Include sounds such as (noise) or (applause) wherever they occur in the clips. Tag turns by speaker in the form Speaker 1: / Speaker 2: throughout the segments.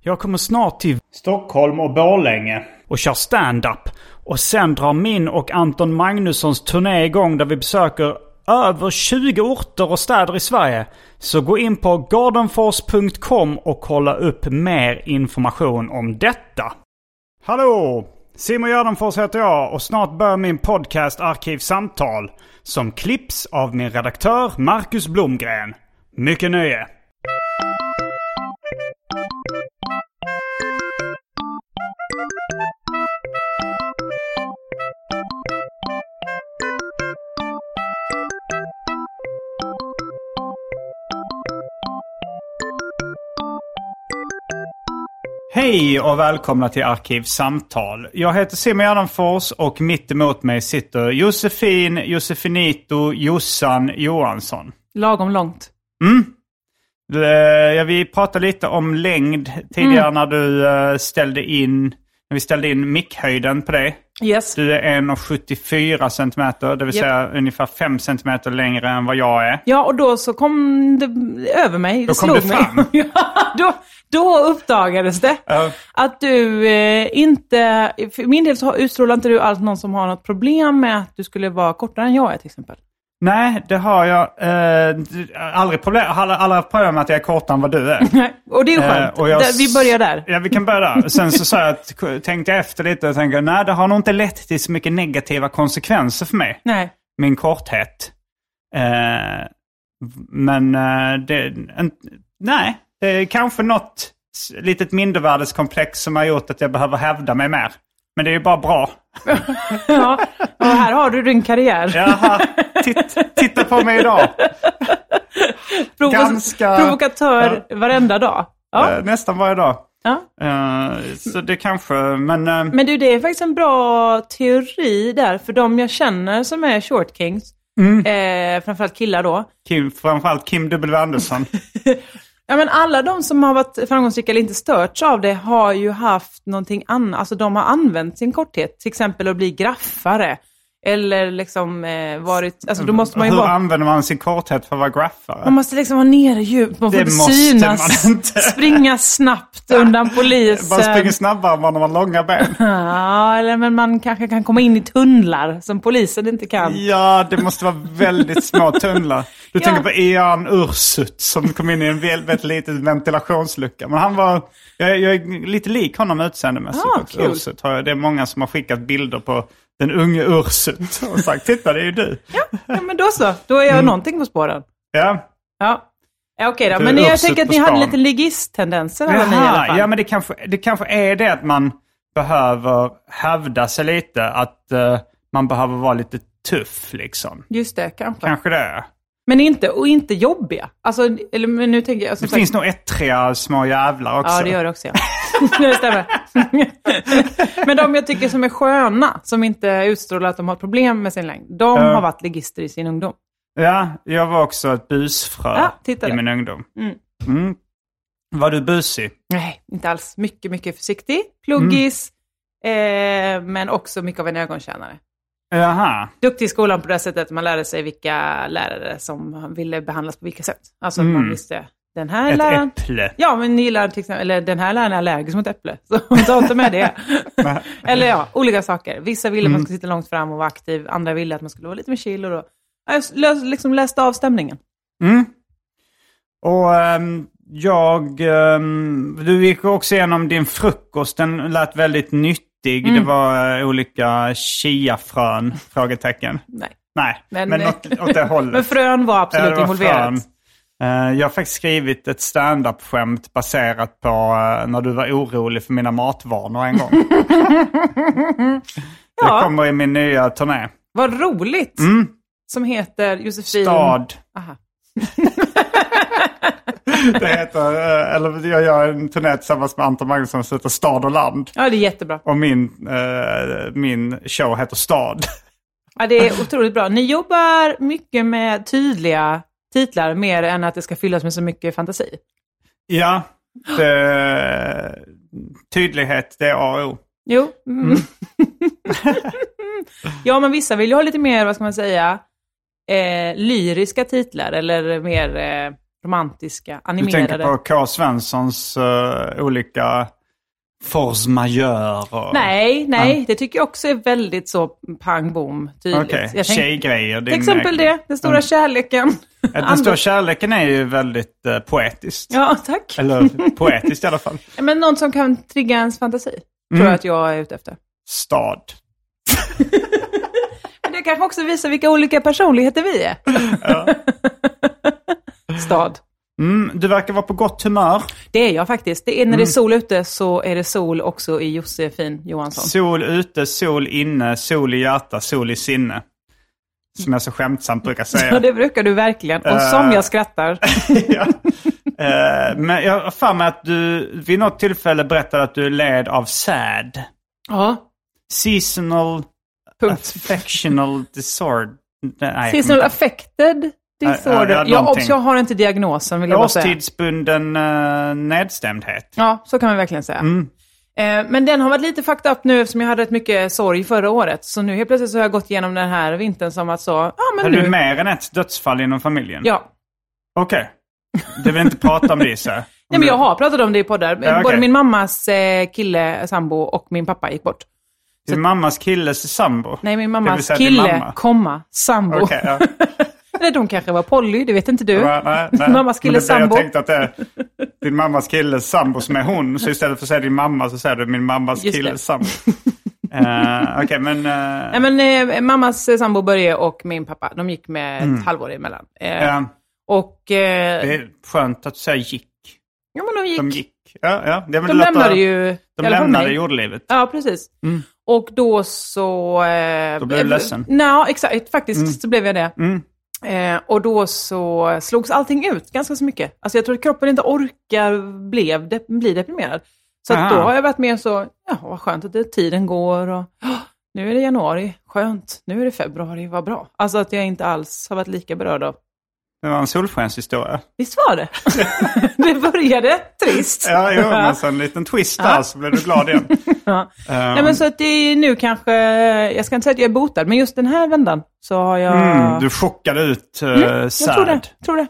Speaker 1: Jag kommer snart till
Speaker 2: Stockholm och Borlänge.
Speaker 1: och kör stand-up. Och sen drar min och Anton Magnussons turné igång där vi besöker över 20 orter och städer i Sverige. Så gå in på gardenfors.com och kolla upp mer information om detta. Hallå! Simon Gärdenfors heter jag och snart börjar min podcast Arkivsamtal. Som klipps av min redaktör Marcus Blomgren. Mycket nöje! Hej och välkomna till Arkivsamtal. Jag heter Simon Gärdenfors och mitt emot mig sitter Josefin, Josefinito, Jossan Johansson.
Speaker 3: Lagom långt.
Speaker 1: Eh, Ja, vi pratade lite om längd tidigare när du eh, ställde in, när vi ställde in mickhöjden på dig.
Speaker 3: Yes.
Speaker 1: Du är 1,74 centimeter, det vill
Speaker 3: Japp.
Speaker 1: säga ungefär 5 centimeter längre än vad jag är.
Speaker 3: Ja, och då så kom det över mig. Det
Speaker 1: Då kom
Speaker 3: slog
Speaker 1: det fram.
Speaker 3: mig. (laughs) ja, då, då uppdagades det.
Speaker 1: Ja.
Speaker 3: Att du eh, inte... För min del så har- utstrålar inte du alls någon som har något problem med att du skulle vara kortare än jag är till exempel.
Speaker 1: Nej, det har jag eh, d- aldrig problem alla, alla problem med att jag är kortare än vad du är.
Speaker 3: Nej, och det är ju skönt.
Speaker 1: Eh, och jag-
Speaker 3: Där- Vi börjar där.
Speaker 1: Ja, vi kan börja där. Sen så, så här, att- tänkte jag efter lite och tänkte, nej det har nog inte lett till så mycket negativa konsekvenser för mig,
Speaker 3: Nej.
Speaker 1: min korthet. Eh, men eh, det, en, nej, det är kanske något s- litet mindervärdeskomplex som har gjort att jag behöver hävda mig mer. Men det är ju bara bra.
Speaker 3: Ja. Och här har du din karriär.
Speaker 1: Jaha, titt, titta på mig idag.
Speaker 3: Provo-
Speaker 1: ganska-
Speaker 3: Provokatör varenda dag. Ja.
Speaker 1: Eh, nästan varje dag.
Speaker 3: Ja.
Speaker 1: Eh, så det kanske, men... eh,
Speaker 3: Men du, det är faktiskt en bra teori där, för de jag känner som är short kings,
Speaker 1: Mm.
Speaker 3: eh, framförallt killar då,
Speaker 1: Kim, framförallt Kim W. Andersson.
Speaker 3: Ja, men alla de som har varit framgångsrika eller inte störts av det har ju haft någonting annat. Alltså de har använt sin korthet, till exempel att bli graffare. Eller liksom eh, varit... Alltså då måste man ju
Speaker 1: Hur
Speaker 3: vara...
Speaker 1: använder man sin korthet för att vara graffare?
Speaker 3: Man måste liksom vara nere djupt, man får
Speaker 1: Det
Speaker 3: inte
Speaker 1: måste
Speaker 3: synas.
Speaker 1: man inte. (laughs)
Speaker 3: Springa snabbt undan polisen.
Speaker 1: Bara springer snabbare än man har långa
Speaker 3: (laughs)
Speaker 1: ben.
Speaker 3: ja, eller men man kanske kan komma in i tunnlar som polisen inte kan.
Speaker 1: Ja, det måste vara väldigt små tunnlar. Du
Speaker 3: Ja.
Speaker 1: tänker på Ian Ursut som kom in i en väldigt liten ventilationslucka. Men han var, jag, jag är lite lik honom utseendemässigt.
Speaker 3: Ah,
Speaker 1: också.
Speaker 3: kul.
Speaker 1: Ursut har jag, det är många som har skickat bilder på den unge Ursut och sagt titta det är ju du.
Speaker 3: Ja, men då så. Då är
Speaker 1: Mm.
Speaker 3: jag någonting på spåren.
Speaker 1: Ja.
Speaker 3: Ja. Ja, Okej
Speaker 1: Du
Speaker 3: då,
Speaker 1: är
Speaker 3: men jag
Speaker 1: uppsatt
Speaker 3: tänker att
Speaker 1: på
Speaker 3: ni hade
Speaker 1: stan.
Speaker 3: lite ligist-tendenser alla ni i alla
Speaker 1: Jaha,
Speaker 3: fall.
Speaker 1: ja men det kanske, det kanske är det att man behöver hävda sig lite. Att eh, man behöver vara lite tuff liksom.
Speaker 3: Just det, kanske.
Speaker 1: Kanske det är.
Speaker 3: Men inte, och inte jobbiga. Alltså, eller, men nu tänker jag... som
Speaker 1: Det
Speaker 3: sagt-
Speaker 1: finns nog ettriga små jävlar också.
Speaker 3: Ja, det gör det också. Ja. (laughs) det stämmer. (laughs) men de jag tycker som är sköna, som inte utstrålar att de har problem med sin längd, de
Speaker 1: Ja.
Speaker 3: har varit ligister i sin ungdom.
Speaker 1: Ja, jag var också ett busfrö
Speaker 3: Ja, titta
Speaker 1: i
Speaker 3: där.
Speaker 1: min ungdom.
Speaker 3: Mm.
Speaker 1: Mm. Var du busig?
Speaker 3: Nej, inte alls. Mycket, mycket försiktig, pluggis,
Speaker 1: Mm.
Speaker 3: eh, men också mycket av en ögontjänare.
Speaker 1: Jaha.
Speaker 3: Duktig i skolan på det sättet att man lärde sig vilka lärare som ville behandlas på vilka sätt. Alltså, att
Speaker 1: Mm.
Speaker 3: man visste den här
Speaker 1: Ett
Speaker 3: läraren...
Speaker 1: äpple.
Speaker 3: Ja, men gillar till exempel, eller den här läraren är allergisk mot äpple, (laughs) så ta inte med det. (laughs) eller ja, olika saker. Vissa ville att
Speaker 1: Mm.
Speaker 3: man skulle sitta långt fram och vara aktiv, andra ville att man skulle vara lite mer chill. Och då. Ja, Jag lös, liksom läste av stämningen.
Speaker 1: Och ehm, Jag... ehm, du gick också igenom din frukost. Den lät väldigt nyttig.
Speaker 3: Mm.
Speaker 1: Det var eh, olika chiafrön? Frågetecken.
Speaker 3: Nej.
Speaker 1: Nej, men,
Speaker 3: Men- eh,
Speaker 1: åt, åt det
Speaker 3: (laughs)
Speaker 1: hållet.
Speaker 3: Men frön var
Speaker 1: Ja,
Speaker 3: absolut
Speaker 1: det var
Speaker 3: involverat.
Speaker 1: frön. Eh, Jag har faktiskt skrivit ett stand-up-skämt baserat på eh, när du var orolig för mina matvanor en
Speaker 3: (laughs)
Speaker 1: gång. Det
Speaker 3: Ja,
Speaker 1: kommer i min nya turné.
Speaker 3: vad roligt. Som heter Josefin...
Speaker 1: Mm. Stad.
Speaker 3: Aha.
Speaker 1: (laughs) Det heter, eh, eller jag gör en turné tillsammans med Anton Magnusson som heter Stad och land.
Speaker 3: Ja, det är jättebra.
Speaker 1: Och min, eh, min show heter Stad. (laughs)
Speaker 3: Ja, det är otroligt bra. Ni jobbar mycket med tydliga titlar mer än att det ska fyllas med så mycket fantasi.
Speaker 1: Ja, det, tydlighet det är A och O.
Speaker 3: Jo. Mm. (laughs) ja, men vissa vill ju ha lite mer, vad ska man säga, eh, lyriska titlar eller mer eh, romantiska,
Speaker 1: Du tänker
Speaker 3: animerade.
Speaker 1: på K. Svenssons eh, olika force majeure och
Speaker 3: Nej, nej, det tycker jag också är väldigt så pang bom tydligt.
Speaker 1: Okej, Mm.
Speaker 3: Jag tänk-
Speaker 1: tjejgrejer.
Speaker 3: till exempel det, den stora kärleken. (laughs)
Speaker 1: Den stora kärleken är ju väldigt eh, poetiskt.
Speaker 3: Ja, tack. (laughs)
Speaker 1: Eller poetiskt i alla fall.
Speaker 3: Men något som kan trigga ens fantasi, tror
Speaker 1: Mm.
Speaker 3: jag att jag är ute efter.
Speaker 1: Stad.
Speaker 3: Men det kanske också visar vilka olika personligheter vi är. (laughs) Stad.
Speaker 1: Mm, du verkar vara på gott humör.
Speaker 3: Det är jag faktiskt. Det är, när det är
Speaker 1: Mm.
Speaker 3: sol ute så är det sol också i Josefin Johansson.
Speaker 1: Sol ute, sol inne, sol i hjärta, sol i sinne. Som jag så skämtsamt brukar
Speaker 3: (laughs) Ja,
Speaker 1: säga.
Speaker 3: det brukar du verkligen. Och
Speaker 1: Eh.
Speaker 3: som
Speaker 1: (laughs)
Speaker 3: jag skrattar.
Speaker 1: ja. Eh, Men jag har för mig att du vid något tillfälle berättade att du led av SAD.
Speaker 3: Ja.
Speaker 1: Seasonal
Speaker 3: Punkt.
Speaker 1: affectional disorder. Nej,
Speaker 3: Seasonal affected
Speaker 1: Ja,
Speaker 3: disorder.
Speaker 1: ja,
Speaker 3: Ja,
Speaker 1: någonting.
Speaker 3: jag har inte diagnosen vill jag bara säga.
Speaker 1: Årstidsbunden eh, nedstämdhet.
Speaker 3: Ja, så kan man verkligen säga.
Speaker 1: Mm.
Speaker 3: Eh, Men den har varit lite fucked up nu eftersom jag hade rätt mycket sorg förra året. Så nu helt plötsligt så har jag gått igenom den här vintern som att så, ja
Speaker 1: Har
Speaker 3: men
Speaker 1: du
Speaker 3: nu.
Speaker 1: mer än ett dödsfall inom familjen?
Speaker 3: Ja.
Speaker 1: Okej. Du vill inte prata om det så.
Speaker 3: (laughs) Nej, men jag har pratat om det i poddar.
Speaker 1: Ja, okej.
Speaker 3: Både min mammas eh, kille, sambo och min pappa gick bort.
Speaker 1: Din mammas killes sambo? Det
Speaker 3: Nej, min
Speaker 1: vill
Speaker 3: mammas
Speaker 1: säga din
Speaker 3: kille,
Speaker 1: mamma.
Speaker 3: komma, sambo.
Speaker 1: Okej, ja.
Speaker 3: (laughs) Eller de kanske var poly, det vet inte du.
Speaker 1: Nej, nej, nej.
Speaker 3: (laughs) Mammas kille
Speaker 1: Men det- Jag
Speaker 3: sambo.
Speaker 1: tänkte att det är din mammas killes sambo som är hon. Så istället för att säga din mamma så säger du min mammas
Speaker 3: Just det.
Speaker 1: killes
Speaker 3: (laughs)
Speaker 1: sambo. Eh, Okej, men... eh,
Speaker 3: Nej, men eh, mammas eh, sambo Börje och min pappa, de gick med ett halvår emellan. Eh,
Speaker 1: Mm. ja,
Speaker 3: Och... Eh,
Speaker 1: det är skönt att du säger gick.
Speaker 3: ja, men de gick.
Speaker 1: De
Speaker 3: De,
Speaker 1: gick. Ja, ja. Det är väl lätt att-
Speaker 3: lämnade ju... i
Speaker 1: De
Speaker 3: alla fall
Speaker 1: lämnade
Speaker 3: mig.
Speaker 1: jordlivet.
Speaker 3: Ja, precis. Och då så... Eh,
Speaker 1: Då blev du ledsen. Mm.
Speaker 3: Nej, exakt. Faktiskt så blev jag det. Eh, och då så slogs allting ut ganska så mycket. Alltså jag tror att kroppen inte orkar blev de- bli deprimerad. Så att
Speaker 1: Aha.
Speaker 3: då har jag varit mer så, ja vad skönt att det, tiden går och "Åh, nu är det januari, skönt, nu är det februari, vad bra. Alltså att jag inte alls har varit lika berörd av,
Speaker 1: Det var en solskenshistoria.
Speaker 3: visst var det? (laughs) det började trist.
Speaker 1: Ja,
Speaker 3: (laughs)
Speaker 1: jo, men så en liten twist där så blev du glad igen.
Speaker 3: Ja.
Speaker 1: Ehm,
Speaker 3: Nej, men så att det är nu kanske, jag ska inte säga att jag är botad, men just den här vändan så har jag...
Speaker 1: mm, du chockade ut uh,
Speaker 3: Mm, jag tror det,
Speaker 1: Sad. Mm.
Speaker 3: tror det.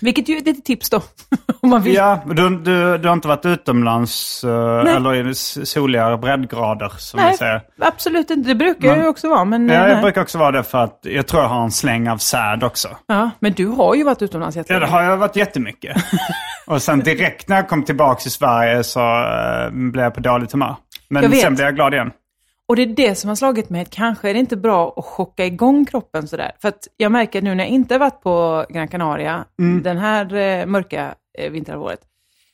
Speaker 3: Vilket ju är ett litet tips då, (laughs) om man vill.
Speaker 1: Ja, du, du, du har inte varit utomlands eh, eller i s- soligare breddgrader som vi
Speaker 3: Nej,
Speaker 1: säger.
Speaker 3: absolut inte. Det brukar jag ju också vara, men...
Speaker 1: Ja,
Speaker 3: eh,
Speaker 1: jag
Speaker 3: nej.
Speaker 1: brukar också vara det för att jag tror jag har en släng av sad också.
Speaker 3: Ja, men du har ju varit utomlands
Speaker 1: Ja, det
Speaker 3: jättelänge.
Speaker 1: har jag varit
Speaker 3: (laughs)
Speaker 1: jättemycket. Och sen direkt när jag kom tillbaka till Sverige så eh, blev jag på dåligt humör.
Speaker 3: Jag
Speaker 1: Men
Speaker 3: vet.
Speaker 1: sen blev jag glad igen.
Speaker 3: Och det är det som har slagit mig, att kanske är det inte bra att chocka igång kroppen sådär. För att jag märker nu när jag inte har varit på Gran Canaria,
Speaker 1: Mm.
Speaker 3: den här eh, mörka eh, vinterhalvåret,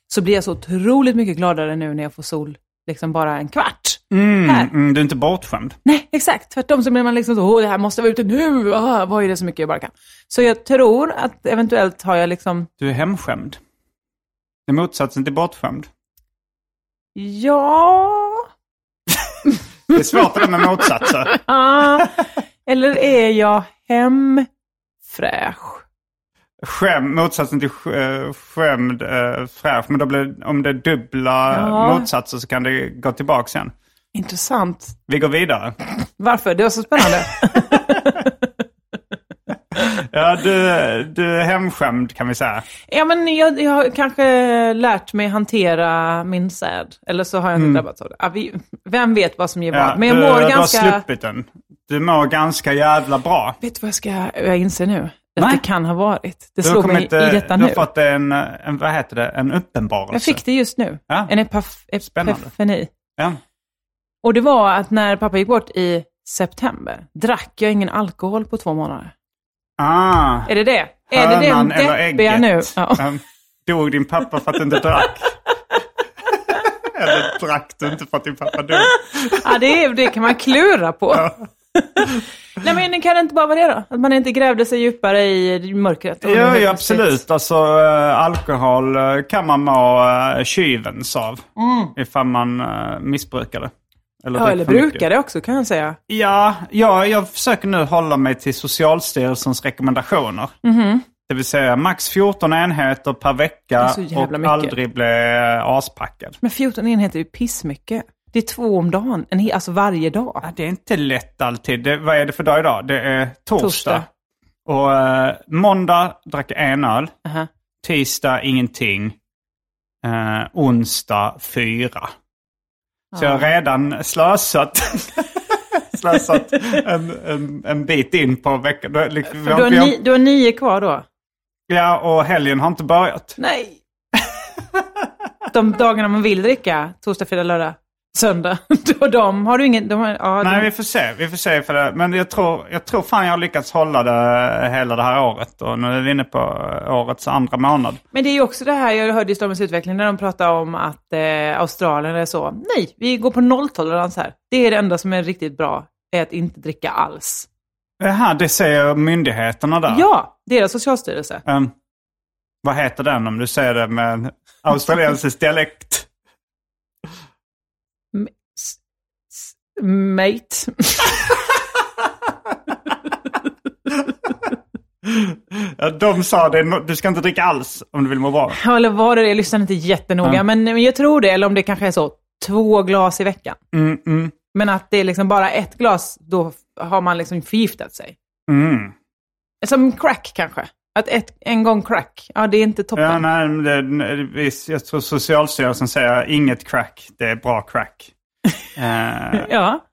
Speaker 3: så blir jag så otroligt mycket gladare nu när jag får sol, liksom bara en kvart. Här.
Speaker 1: Mm, mm, du är inte bortskämd.
Speaker 3: Nej, exakt. Tvärtom så blir man liksom så, åh, det här måste vara ute nu, ah, vad är det så mycket jag bara kan. Så jag tror att eventuellt har jag liksom,
Speaker 1: Du är hemskämd. Det är motsatsen till bortskämd.
Speaker 3: ja,
Speaker 1: Det är svårt det där med motsatser.
Speaker 3: ah, eller är jag hemfräsch?
Speaker 1: Skäm, motsatsen till sk- eh, skämd, eh, fräsch. Men då blir, om det är dubbla
Speaker 3: Ja.
Speaker 1: motsatser så kan det gå tillbaka sen.
Speaker 3: Intressant.
Speaker 1: Vi går vidare.
Speaker 3: Varför? Det var så spännande.
Speaker 1: Ja, du, du är hemskämd kan vi säga.
Speaker 3: (laughs) ja, men jag, jag har kanske lärt mig hantera min säd. Eller så har jag inte drabbats av det. Ah, vi, vem vet vad som ger vad.
Speaker 1: Mm. Ja,
Speaker 3: men jag
Speaker 1: du,
Speaker 3: mår
Speaker 1: du har
Speaker 3: ganska...
Speaker 1: sluppit den. Du mår ganska jävla bra.
Speaker 3: Vet du vad jag ska jag inser nu? att
Speaker 4: Nej.
Speaker 3: det kan ha varit.
Speaker 1: Du
Speaker 3: Det slog
Speaker 1: kommer
Speaker 3: mig i detta
Speaker 1: du
Speaker 3: nu.
Speaker 1: har fått en, en, vad heter det, en uppenbarelse.
Speaker 3: Jag fick det just nu.
Speaker 1: Ja.
Speaker 3: En epaf-
Speaker 1: Spännande.
Speaker 3: epifani.
Speaker 1: Ja.
Speaker 3: Och det var att när pappa gick bort i september, drack jag ingen alkohol på två månader.
Speaker 1: Ah,
Speaker 3: Är det det? är det
Speaker 1: hönan
Speaker 3: det
Speaker 1: eller
Speaker 3: deppiga
Speaker 1: ägget? (laughs)
Speaker 3: nu? Ja.
Speaker 1: Ehm, Dog din pappa för att du inte (laughs) drack? eller drack du inte för att din pappa dog?
Speaker 3: Ja, det, är, det kan man klura på. Nej, men kan det inte bara vara det då? Att man inte grävde sig djupare i mörkret? och
Speaker 1: Ja,
Speaker 3: det
Speaker 1: ja
Speaker 3: här
Speaker 1: absolut.
Speaker 3: plötsligt.
Speaker 1: Alltså, eh, alkohol eh, kan man må eh, tjuvens av. Ifall man eh, missbrukar det. Mm. Eller,
Speaker 3: Ja,
Speaker 1: dricker
Speaker 3: eller
Speaker 1: för mycket.
Speaker 3: brukade också kan jag säga.
Speaker 1: Ja, ja, jag försöker nu hålla mig till Socialstyrelsens rekommendationer. Det vill säga max 14 enheter per
Speaker 3: är
Speaker 1: vecka
Speaker 3: så jävla
Speaker 1: och
Speaker 3: mycket.
Speaker 1: aldrig bli eh, aspackad.
Speaker 3: Men 14 enheter är ju pissmycket. Det är två om dagen, en hel, alltså varje dag.
Speaker 1: Ja, Det är inte lätt alltid. Det, vad är det för dag idag? Det är torsdag.
Speaker 3: Torsdag.
Speaker 1: Och eh, måndag drack jag en öl.
Speaker 3: Aha.
Speaker 1: Tisdag ingenting. Eh, onsdag fyra. Så jag har redan
Speaker 3: (laughs)
Speaker 1: slösat, slösat en, en, en bit in på veckan. Då- liksom,
Speaker 3: Du, har
Speaker 1: jag-
Speaker 3: ni, du har nio kvar då?
Speaker 1: Ja, och helgen har inte börjat.
Speaker 3: Nej. De dagarna man vill dricka, torsdag, fredag, lördag, söndag, (laughs) då de har du ingen... De har, ja,
Speaker 1: Nej,
Speaker 3: de,
Speaker 1: vi får se. Vi får se ifall det, men jag tror, jag tror fan jag har lyckats hålla det hela det här året. Och nu är vi inne på årets andra månad.
Speaker 3: Men det är ju också det här, jag hörde i Stormens utveckling när de pratade om att eh, Australien är så, nej, vi går på nolltolerans här. Det är det enda som är riktigt bra, är att inte dricka alls.
Speaker 1: Jaha, Eh, det säger myndigheterna där.
Speaker 3: Ja, deras socialstyrelse.
Speaker 1: Ehm, vad heter den om du säger det med en
Speaker 3: (laughs)
Speaker 1: australiensisk dialekt?
Speaker 3: Mate. (laughs)
Speaker 1: Ja, De sa det, no- du ska inte dricka alls om du vill må bra.
Speaker 3: Ja, eller var det det? Jag lyssnade inte jättenoga, men, men jag tror det, eller om det kanske är så, två glas i veckan.
Speaker 1: Mm, mm,
Speaker 3: Men att det är liksom bara ett glas, då har man liksom förgiftat sig.
Speaker 1: mm.
Speaker 3: Som crack kanske. Att ett, en gång crack, ja det är inte toppen.
Speaker 1: Ja, nej, men det, nej, visst, jag tror Socialstyrelsen säger inget crack, det är bra
Speaker 3: (laughs)
Speaker 1: crack. Eh,
Speaker 3: Ja.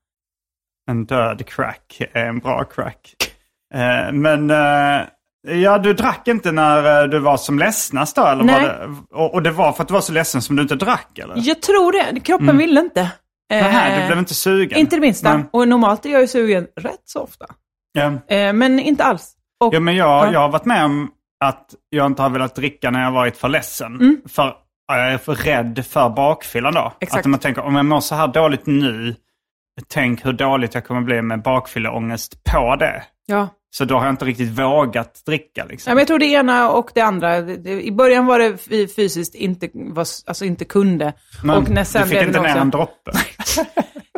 Speaker 1: En död crack är en bra crack. Eh, men eh, ja, du drack inte när eh, du var som ledsnast då? Eller var
Speaker 3: Nej.
Speaker 1: det, och, och det var för att du var så ledsen som du inte drack? Eller?
Speaker 3: Jag tror det. Kroppen
Speaker 1: Mm.
Speaker 3: ville inte.
Speaker 1: Nähä, du
Speaker 3: Eh,
Speaker 1: blev inte sugen?
Speaker 3: Inte det minsta.
Speaker 1: Men,
Speaker 3: Och normalt är jag ju sugen rätt så ofta.
Speaker 1: ja.
Speaker 3: Eh, men inte alls. Och,
Speaker 1: ja, men jag,
Speaker 3: Ja.
Speaker 1: jag har varit med om att jag inte har velat dricka när jag varit för ledsen.
Speaker 3: Mm.
Speaker 1: För ja, jag är för rädd för bakfyllan då.
Speaker 3: Exakt.
Speaker 1: Att man tänker, om jag mår så här dåligt nu, tänk hur dåligt jag kommer bli med bakfylleångest på det.
Speaker 3: ja.
Speaker 1: Så då har jag inte riktigt vågat dricka. Liksom.
Speaker 3: Ja, men jag tror det ena och det andra. Det- det- I början var det vi fysiskt inte, var, alltså inte kunde.
Speaker 1: Men
Speaker 3: och när sen
Speaker 1: du fick
Speaker 3: blev det
Speaker 1: inte ner
Speaker 3: också-
Speaker 1: en droppe.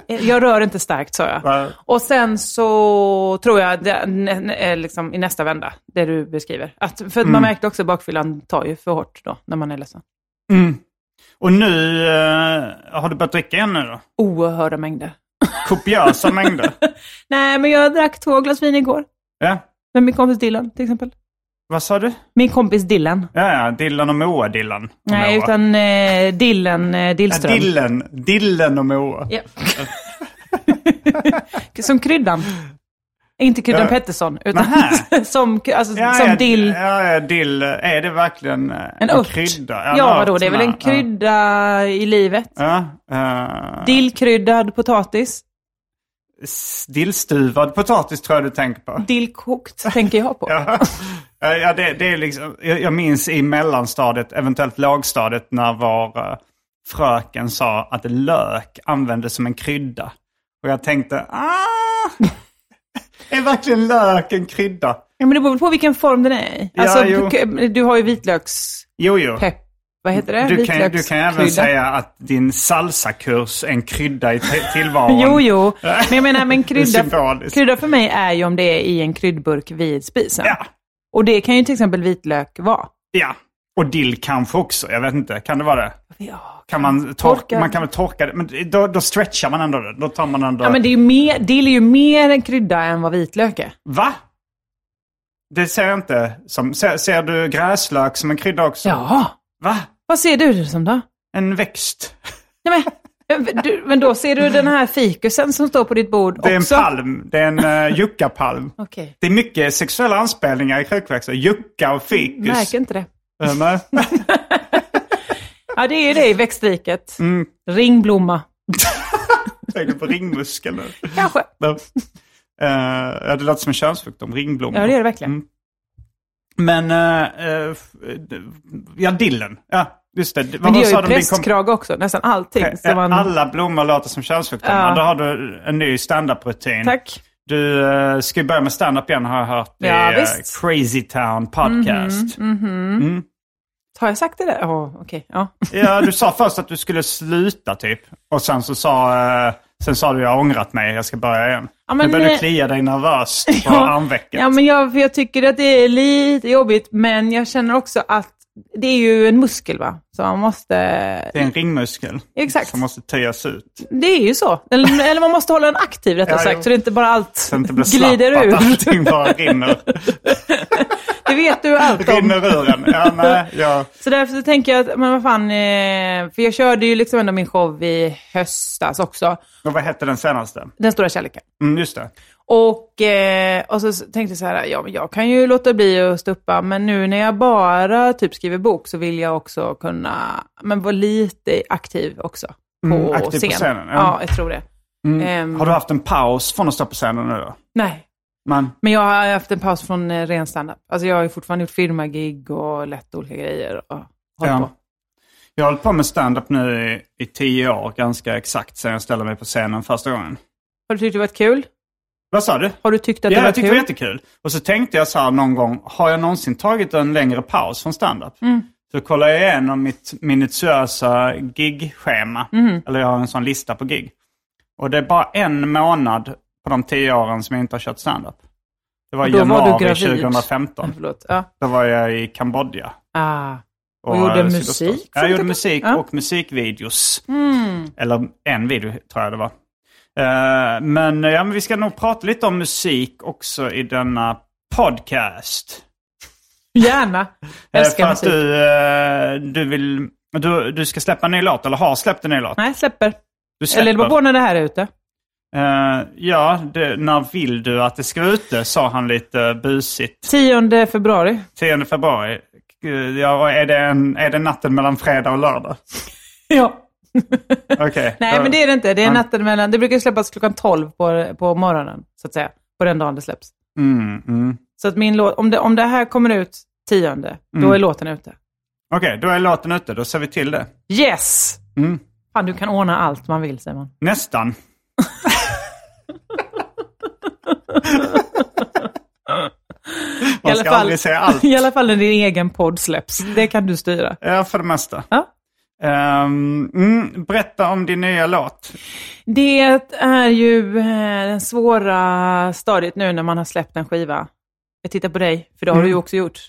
Speaker 3: Eh, Jag rör inte starkt, sa jag.
Speaker 1: Va?
Speaker 3: Och sen så tror jag, det, nä- nä- eh, liksom, i nästa vända, det du beskriver. Att, för att
Speaker 1: Mm.
Speaker 3: man märkte också att bakfyllan tar ju för hårt då, när man är ledsen.
Speaker 1: Mm. Och nu eh, har du börjat dricka igen nu då?
Speaker 3: Oerhörda mängder.
Speaker 1: Kopiösa
Speaker 3: (laughs)
Speaker 1: mängder.
Speaker 3: Nej, men jag drack två glas vin igår.
Speaker 1: Ja.
Speaker 3: Med min kompis Dylan, till exempel.
Speaker 1: Vad sa du?
Speaker 3: Min kompis Dylan.
Speaker 1: Ja, ja. Dillan och Moa Dillan. och
Speaker 3: Nej,
Speaker 1: Moa.
Speaker 3: utan eh, Dillen eh,
Speaker 1: Ja,
Speaker 3: Dillström.
Speaker 1: Dillen. Dillen och Moa.
Speaker 3: Ja. (laughs) som kryddan. Inte kryddan
Speaker 1: Ja.
Speaker 3: Pettersson, utan
Speaker 1: Nähä.
Speaker 3: (laughs) som, kry- alltså,
Speaker 1: Ja,
Speaker 3: som
Speaker 1: ja,
Speaker 3: dill.
Speaker 1: Ja, ja, dill. Är det verkligen eh,
Speaker 3: En ört.
Speaker 1: krydda?
Speaker 3: Ja,
Speaker 1: en ört
Speaker 3: vadå, det är väl
Speaker 1: som
Speaker 3: en krydda i livet.
Speaker 1: Ja, eh,
Speaker 3: Dillkryddad potatis.
Speaker 1: s- dillstuvad potatis tror jag du tänker på. (laughs)
Speaker 3: Dillkokt tänker jag på.
Speaker 1: Ja, ja det, det är liksom, jag jag minns i mellanstadiet, eventuellt lågstadiet, när vår eh, fröken sa att lök användes som en krydda. Och jag tänkte,
Speaker 3: (laughs)
Speaker 1: ah, är verkligen lök en krydda?
Speaker 3: Ja, men det beror väl på vilken form den är i.
Speaker 1: Ja,
Speaker 3: Alltså,
Speaker 1: jo.
Speaker 3: du, du har ju vitlökspepp.
Speaker 1: Jo, jo.
Speaker 3: Vad heter det?
Speaker 1: Du kan, du kan även
Speaker 3: Vitlökskrydda.
Speaker 1: säga att din salsakurs är en krydda i te- tillvaron.
Speaker 3: (laughs)
Speaker 1: (laughs)
Speaker 3: Jo, jo. Men jag menar, men
Speaker 1: Det är
Speaker 3: krydda,
Speaker 1: symboliskt.
Speaker 3: krydda för mig är ju om det är i en kryddburk vid spisen.
Speaker 1: Ja,
Speaker 3: Och det kan ju till exempel vitlök vara.
Speaker 1: ja. Och dill kanske också, jag vet inte. Kan det vara det?
Speaker 3: Ja,
Speaker 1: Kan man, torka.
Speaker 3: Torka.
Speaker 1: man kan väl torka det, men då, då stretchar man ändå det. Då tar man ändå...
Speaker 3: ja men det är ju mer, dill är ju mer en krydda än vad vitlök är.
Speaker 1: Va? Det ser jag inte som. Ser, ser du gräslök som en krydda också?
Speaker 3: Ja.
Speaker 1: Va?
Speaker 3: Vad ser du det som då?
Speaker 1: En växt?
Speaker 3: Nej, men, Du, men då ser du den här fikusen som står på ditt bord
Speaker 1: Det är en
Speaker 3: också?
Speaker 1: palm. Det är en
Speaker 3: (laughs)
Speaker 1: uh, juckapalm.
Speaker 3: Okej.
Speaker 1: Det är mycket sexuella anspelningar i krukväxter. Jucka och fikus.
Speaker 3: Märker inte det.
Speaker 1: Eh, nej.
Speaker 3: Ja, det är ju det i växtriket.
Speaker 1: Mm.
Speaker 3: Ringblomma.
Speaker 1: Tänker på ringmuskel nu.
Speaker 3: (laughs) Kanske.
Speaker 1: Nej. Eh, ja, det låter som en könssjukdom, ringblommor.
Speaker 3: Ja, det är det verkligen.
Speaker 1: Mm. Men, eh, eh, f- eh, ja, dillen. Ja, just det. Vad-
Speaker 3: Men det
Speaker 1: vad
Speaker 3: gör
Speaker 1: sa de
Speaker 3: ju
Speaker 1: om din kom-
Speaker 3: prästkrage också, nästan allting. Så
Speaker 1: Eh,
Speaker 3: man...
Speaker 1: Alla blommor låter som könssjukdomar.
Speaker 3: Ja.
Speaker 1: Då har du en ny standup-rutin.
Speaker 3: Tack.
Speaker 1: Du eh, ska ju börja med standup igen har jag hört
Speaker 3: Ja,
Speaker 1: i eh,
Speaker 3: visst. Mhm,
Speaker 1: Crazy Town Podcast.
Speaker 3: Har jag sagt det där? Ja, okej. Ja.
Speaker 1: Ja, du sa först att du skulle sluta typ. Och sen så sa, eh, sen sa du jag har ångrat mig, jag ska börja igen.
Speaker 3: Ja, men,
Speaker 1: nu börjar du
Speaker 3: eh,
Speaker 1: klia dig nervöst på armvecket.
Speaker 3: (laughs) Ja, men jag, för jag tycker att det är lite jobbigt, men jag känner också att det är ju en muskel, va? Så man måste...
Speaker 1: Det är en ringmuskel
Speaker 3: Exakt.
Speaker 1: som måste töjas ut.
Speaker 3: Det är ju så. Eller, eller man måste hålla den aktiv, rättare
Speaker 1: Ja,
Speaker 3: sagt,
Speaker 1: jo.
Speaker 3: så det inte bara allt
Speaker 1: Så det inte blir
Speaker 3: glider
Speaker 1: slapp, att
Speaker 3: ur.
Speaker 1: allting bara rinner,
Speaker 3: (laughs) Det vet du allt om.
Speaker 1: rinner ur en. Ja, nej, ja.
Speaker 3: Så därför så tänker jag att, men vad fan, eh, för jag körde ju liksom ändå min show i höstas också,
Speaker 1: Och vad hette den senaste?
Speaker 3: Den stora kärleken.
Speaker 1: Mm, just det.
Speaker 3: Och, eh, och så tänkte jag så här, ja, men jag kan ju låta bli att stuppa, men nu när jag bara typ skriver bok så vill jag också kunna men vara lite aktiv också. På
Speaker 1: Mm, aktiv på
Speaker 3: scen.
Speaker 1: scenen,
Speaker 3: ja.
Speaker 1: ja. Mm.
Speaker 3: jag tror det. Ehm,
Speaker 1: Har du haft en paus från att stå på scenen nu då?
Speaker 3: Nej,
Speaker 1: Men,
Speaker 3: men jag har haft en paus från eh, ren standup. Alltså jag har ju fortfarande gjort firmagig och lätt olika grejer. Och, hållit
Speaker 1: Ja.
Speaker 3: på.
Speaker 1: jag har hållit på med stand-up nu i, i tio år, ganska exakt sen jag ställde mig på scenen första gången.
Speaker 3: Har du tyckt det varit kul?
Speaker 1: Vad sa du?
Speaker 3: Har du tyckt att
Speaker 1: Ja,
Speaker 3: det
Speaker 1: jag
Speaker 3: varit
Speaker 1: tyckte det var
Speaker 3: kul?
Speaker 1: jättekul. Och så tänkte jag så här någon gång, har jag någonsin tagit en längre paus från standup?
Speaker 3: Mm.
Speaker 1: Så kollade jag igenom mitt minutiösa gigschema.
Speaker 3: Mm.
Speaker 1: Eller jag har en sån lista på gig. Och det är bara en månad på de tio åren som jag inte har kört standup. Det var i
Speaker 3: Då var du
Speaker 1: januari
Speaker 3: gravid. (laughs)
Speaker 1: 2015.
Speaker 3: Förlåt. Ja.
Speaker 1: Då var jag i Kambodja.
Speaker 3: Ah. Och gjorde
Speaker 1: eh,
Speaker 3: musik
Speaker 1: Sydostasien.
Speaker 3: som
Speaker 1: Jag gjorde
Speaker 3: det-
Speaker 1: musik
Speaker 3: Ja. Mm.
Speaker 1: och musikvideos. Eller en video tror jag det var. Eh, men, eh, ja, men vi ska nog prata lite om musik också i denna podcast.
Speaker 3: Gärna.
Speaker 1: Eh,
Speaker 3: Älskar
Speaker 1: för att
Speaker 3: musik.
Speaker 1: du, eh, du vill... Du, du ska släppa en ny låt, eller har släppt en ny låt.
Speaker 3: Nej, släpper.
Speaker 1: Du släpper.
Speaker 3: Eller det beror på när det här är ute.
Speaker 1: Eh, ja, det, när vill du att det ska vara ute? Sa han lite busigt. (laughs)
Speaker 3: 10 februari.
Speaker 1: 10 februari. Eh, Ja, och är, det en, är det natten mellan fredag och
Speaker 3: (laughs)
Speaker 1: lördag?
Speaker 3: Ja.
Speaker 1: Okej.
Speaker 3: Nej,
Speaker 1: då-
Speaker 3: men det är det inte. Det är
Speaker 1: Ja.
Speaker 3: natten mellan... Det brukar ju släppas klockan 12 på, på morgonen, så att säga. På den dagen det släpps.
Speaker 1: Mm, mm.
Speaker 3: Så att min låt... Om det, om det här kommer ut 10,
Speaker 1: Mm.
Speaker 3: då är låten ute.
Speaker 1: Okej, då är låten ute. Då ser vi till det.
Speaker 3: Yes!
Speaker 1: Mm.
Speaker 3: Fan, du kan ordna allt man (laughs) vill, Simon.
Speaker 1: Nästan.
Speaker 3: I
Speaker 1: Man
Speaker 3: alla
Speaker 1: ska
Speaker 3: fall-
Speaker 1: aldrig säga
Speaker 3: (laughs)
Speaker 1: allt.
Speaker 3: I alla fall när din egen podd släpps. Det kan du styra.
Speaker 1: Ja, för det mesta.
Speaker 3: Ja.
Speaker 1: Ehm, mm, berätta om din nya låt.
Speaker 3: Det är ju eh, det svåra stadiet nu när man har släppt en skiva. Jag tittar på dig, för det
Speaker 1: Mm.
Speaker 3: har du ju också gjort.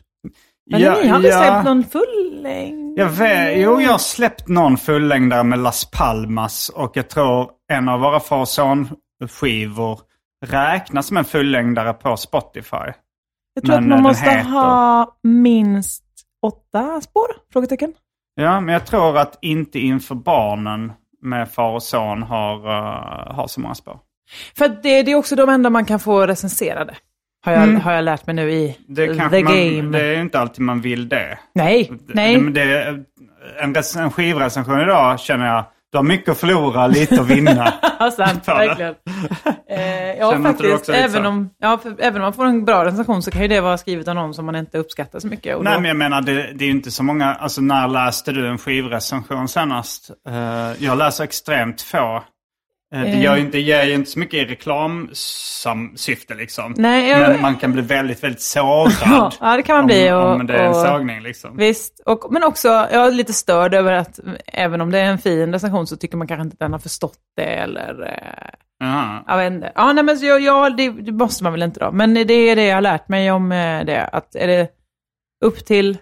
Speaker 3: Men ni har inte släppt någon full längd?
Speaker 1: Jag vet, jo, jag har släppt någon fullängdare med Las Palmas och jag tror en av våra far och son-skivor räknas som en fullängdare på Spotify.
Speaker 3: Jag tror
Speaker 1: Men,
Speaker 3: att man
Speaker 1: eh, den
Speaker 3: måste
Speaker 1: heter-
Speaker 3: ha minst åtta spår? Frågetecken.
Speaker 1: Ja, men jag tror att Inte inför barnen med far och son har, eh, har så många spår.
Speaker 3: För att det, det är också de enda man kan få recenserade. Har jag, har jag lärt mig nu i
Speaker 1: Mm. Det
Speaker 3: the
Speaker 1: kanske man,
Speaker 3: game.
Speaker 1: Det är inte alltid man vill det.
Speaker 3: Nej, nej.
Speaker 1: Det, men det, en, rec- en skivrecension idag känner jag, du har mycket att förlora, lite att
Speaker 3: (laughs)
Speaker 1: vinna.
Speaker 3: Ja,
Speaker 1: (laughs)
Speaker 3: sant.
Speaker 1: Fan, det-
Speaker 3: Verkligen. Eh, ja,
Speaker 1: Känner inte du
Speaker 3: faktiskt.
Speaker 1: också lite
Speaker 3: Även
Speaker 1: så?
Speaker 3: om, ja, för, även om man får en bra recension så kan ju det vara skrivet av någon som man inte uppskattar så mycket. Och
Speaker 1: Nej
Speaker 3: då,
Speaker 1: men jag menar, det, det är ju inte så många, alltså när läste du en skivrecension senast? Eh, jag läser extremt få. Eh, det gör ju inte, ger ju inte så mycket i reklamsyfte liksom.
Speaker 3: Nej, jag-
Speaker 1: Men man kan bli väldigt, väldigt sårad.
Speaker 3: (laughs) Ja, det kan man bli
Speaker 1: Om,
Speaker 3: och-
Speaker 1: om det är en
Speaker 3: och-
Speaker 1: sågning liksom.
Speaker 3: Visst, och, men också jag är lite störd över att mm, även om det är en fin recension så tycker man kanske inte att den har förstått det eller... Eh,
Speaker 1: Jaha.
Speaker 3: jag vet inte. Ja, nej, men så jag, jag, det, det måste man väl inte då. Men det är det jag har lärt mig om eh, det. Att är det upp till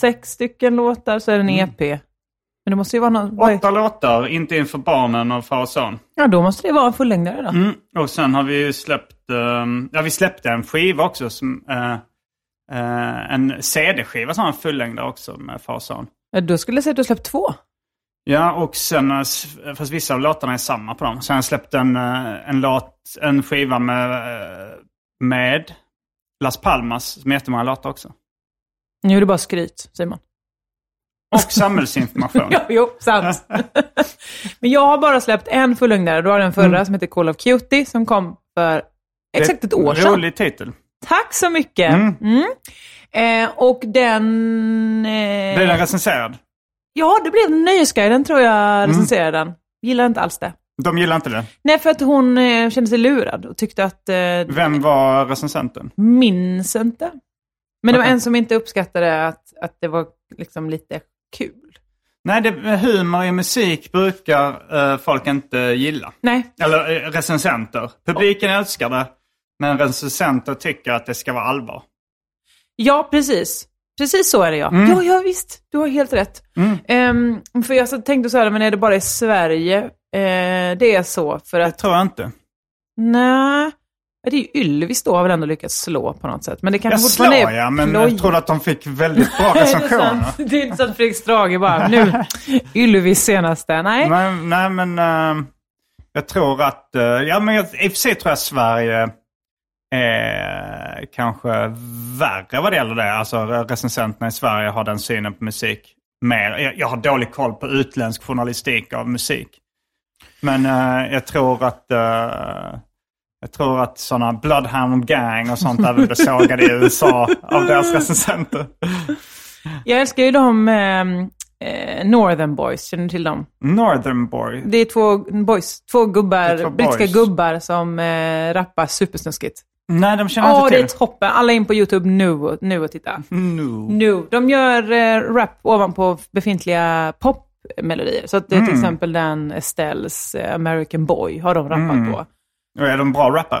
Speaker 3: sex stycken låtar så är det en EP. Men det måste ju vara någon... vad är-
Speaker 1: Mm. Åtta låtar, inte inför barnen och far och son.
Speaker 3: Ja, då måste det vara en fullängdare då.
Speaker 1: Mm. Och sen har vi ju släppt, ehm, ja vi släppte en skiva också. Som, eh, eh, en CD-skiva som var en fullängdare också med far och son.
Speaker 3: Ja, Då skulle jag säga att du har släppt två.
Speaker 1: Ja, och sen, eh, s- fast vissa av låtarna är samma på dem. Sen har jag släppt en, eh, en, låt, en skiva med, eh, med Las Palmas med jättemånga låtar också.
Speaker 3: Nu är det bara skryt, Simon. (laughs)
Speaker 1: Och samhällsinformation.
Speaker 3: Jo, jo
Speaker 1: (laughs)
Speaker 3: sant. Men jag har bara släppt en fullugnare. Du har den förra
Speaker 1: Mm.
Speaker 3: som heter Call of Cutie som kom för exakt ett år sedan.
Speaker 1: Rolig titel.
Speaker 3: Tack så mycket. Mm. Eh, och den... Eh,
Speaker 1: Blev den recenserad?
Speaker 3: Ja, det blev Nöjesguiden tror jag recenserade
Speaker 1: Mm.
Speaker 3: den. Gillar inte alls det.
Speaker 1: De gillar inte det.
Speaker 3: Nej, för att hon eh, kände sig lurad och tyckte att... Eh,
Speaker 1: Vem var recensenten?
Speaker 3: minns inte. Men det var en som inte uppskattade att, att det var liksom lite kul.
Speaker 1: Nej, det, humor i musik brukar eh, folk inte gilla.
Speaker 3: Nej,
Speaker 1: Eller eh, recensenter. Publiken älskar det, men recensenter tycker att det ska vara allvar.
Speaker 3: Ja, precis. Precis så är det ja.
Speaker 1: Mm.
Speaker 3: Ja, ja visst. Du har helt rätt. Ehm, för jag så tänkte så här, men är det bara i Sverige eh, det är så? För att,
Speaker 1: Tror jag inte.
Speaker 3: nej. Ja, Det är ju Ylvis då har väl ändå lyckats slå på något sätt. Men det
Speaker 1: Jag
Speaker 3: kanske
Speaker 1: slår
Speaker 3: fortfarande är
Speaker 1: ja, men
Speaker 3: ploj.
Speaker 1: jag tror att de fick väldigt
Speaker 3: (laughs)
Speaker 1: bra
Speaker 3: Nej, det, är sant.
Speaker 1: recensioner.
Speaker 3: det är inte så att Fredrik Strage bara, nu, Ylvis senaste. Nej.
Speaker 1: men, nej, men eh, jag tror att, eh, ja men jag, i och för sig tror jag Sverige är kanske värre vad det gäller det. Alltså recensenterna i Sverige har den synen på musik mer. Jag, jag har dålig koll på utländsk journalistik av musik. Men eh, jag tror att eh, jag tror att sådana Bloodhound Gang och sånt även blev sågade
Speaker 3: (laughs)
Speaker 1: i USA av deras recensenter.
Speaker 3: Jag älskar ju de ehm, eh, Northern Boys, känner du till dem?
Speaker 1: Northern Boy.
Speaker 3: Det är två boys, två gubbar,
Speaker 1: Det är två
Speaker 3: brittiska
Speaker 1: boys.
Speaker 3: gubbar som eh, rappar supersnuskigt.
Speaker 1: Nej, de känner jag
Speaker 3: Ja,
Speaker 1: inte
Speaker 3: det
Speaker 1: till.
Speaker 3: är toppen. Alla in på YouTube nu och, nu och titta.
Speaker 1: Mm. Nu.
Speaker 3: Nu. De gör eh, rap ovanpå befintliga popmelodier. Så att det är till exempel den Estelles eh, American Boy har de rappat på.
Speaker 1: Och är de bra rappare?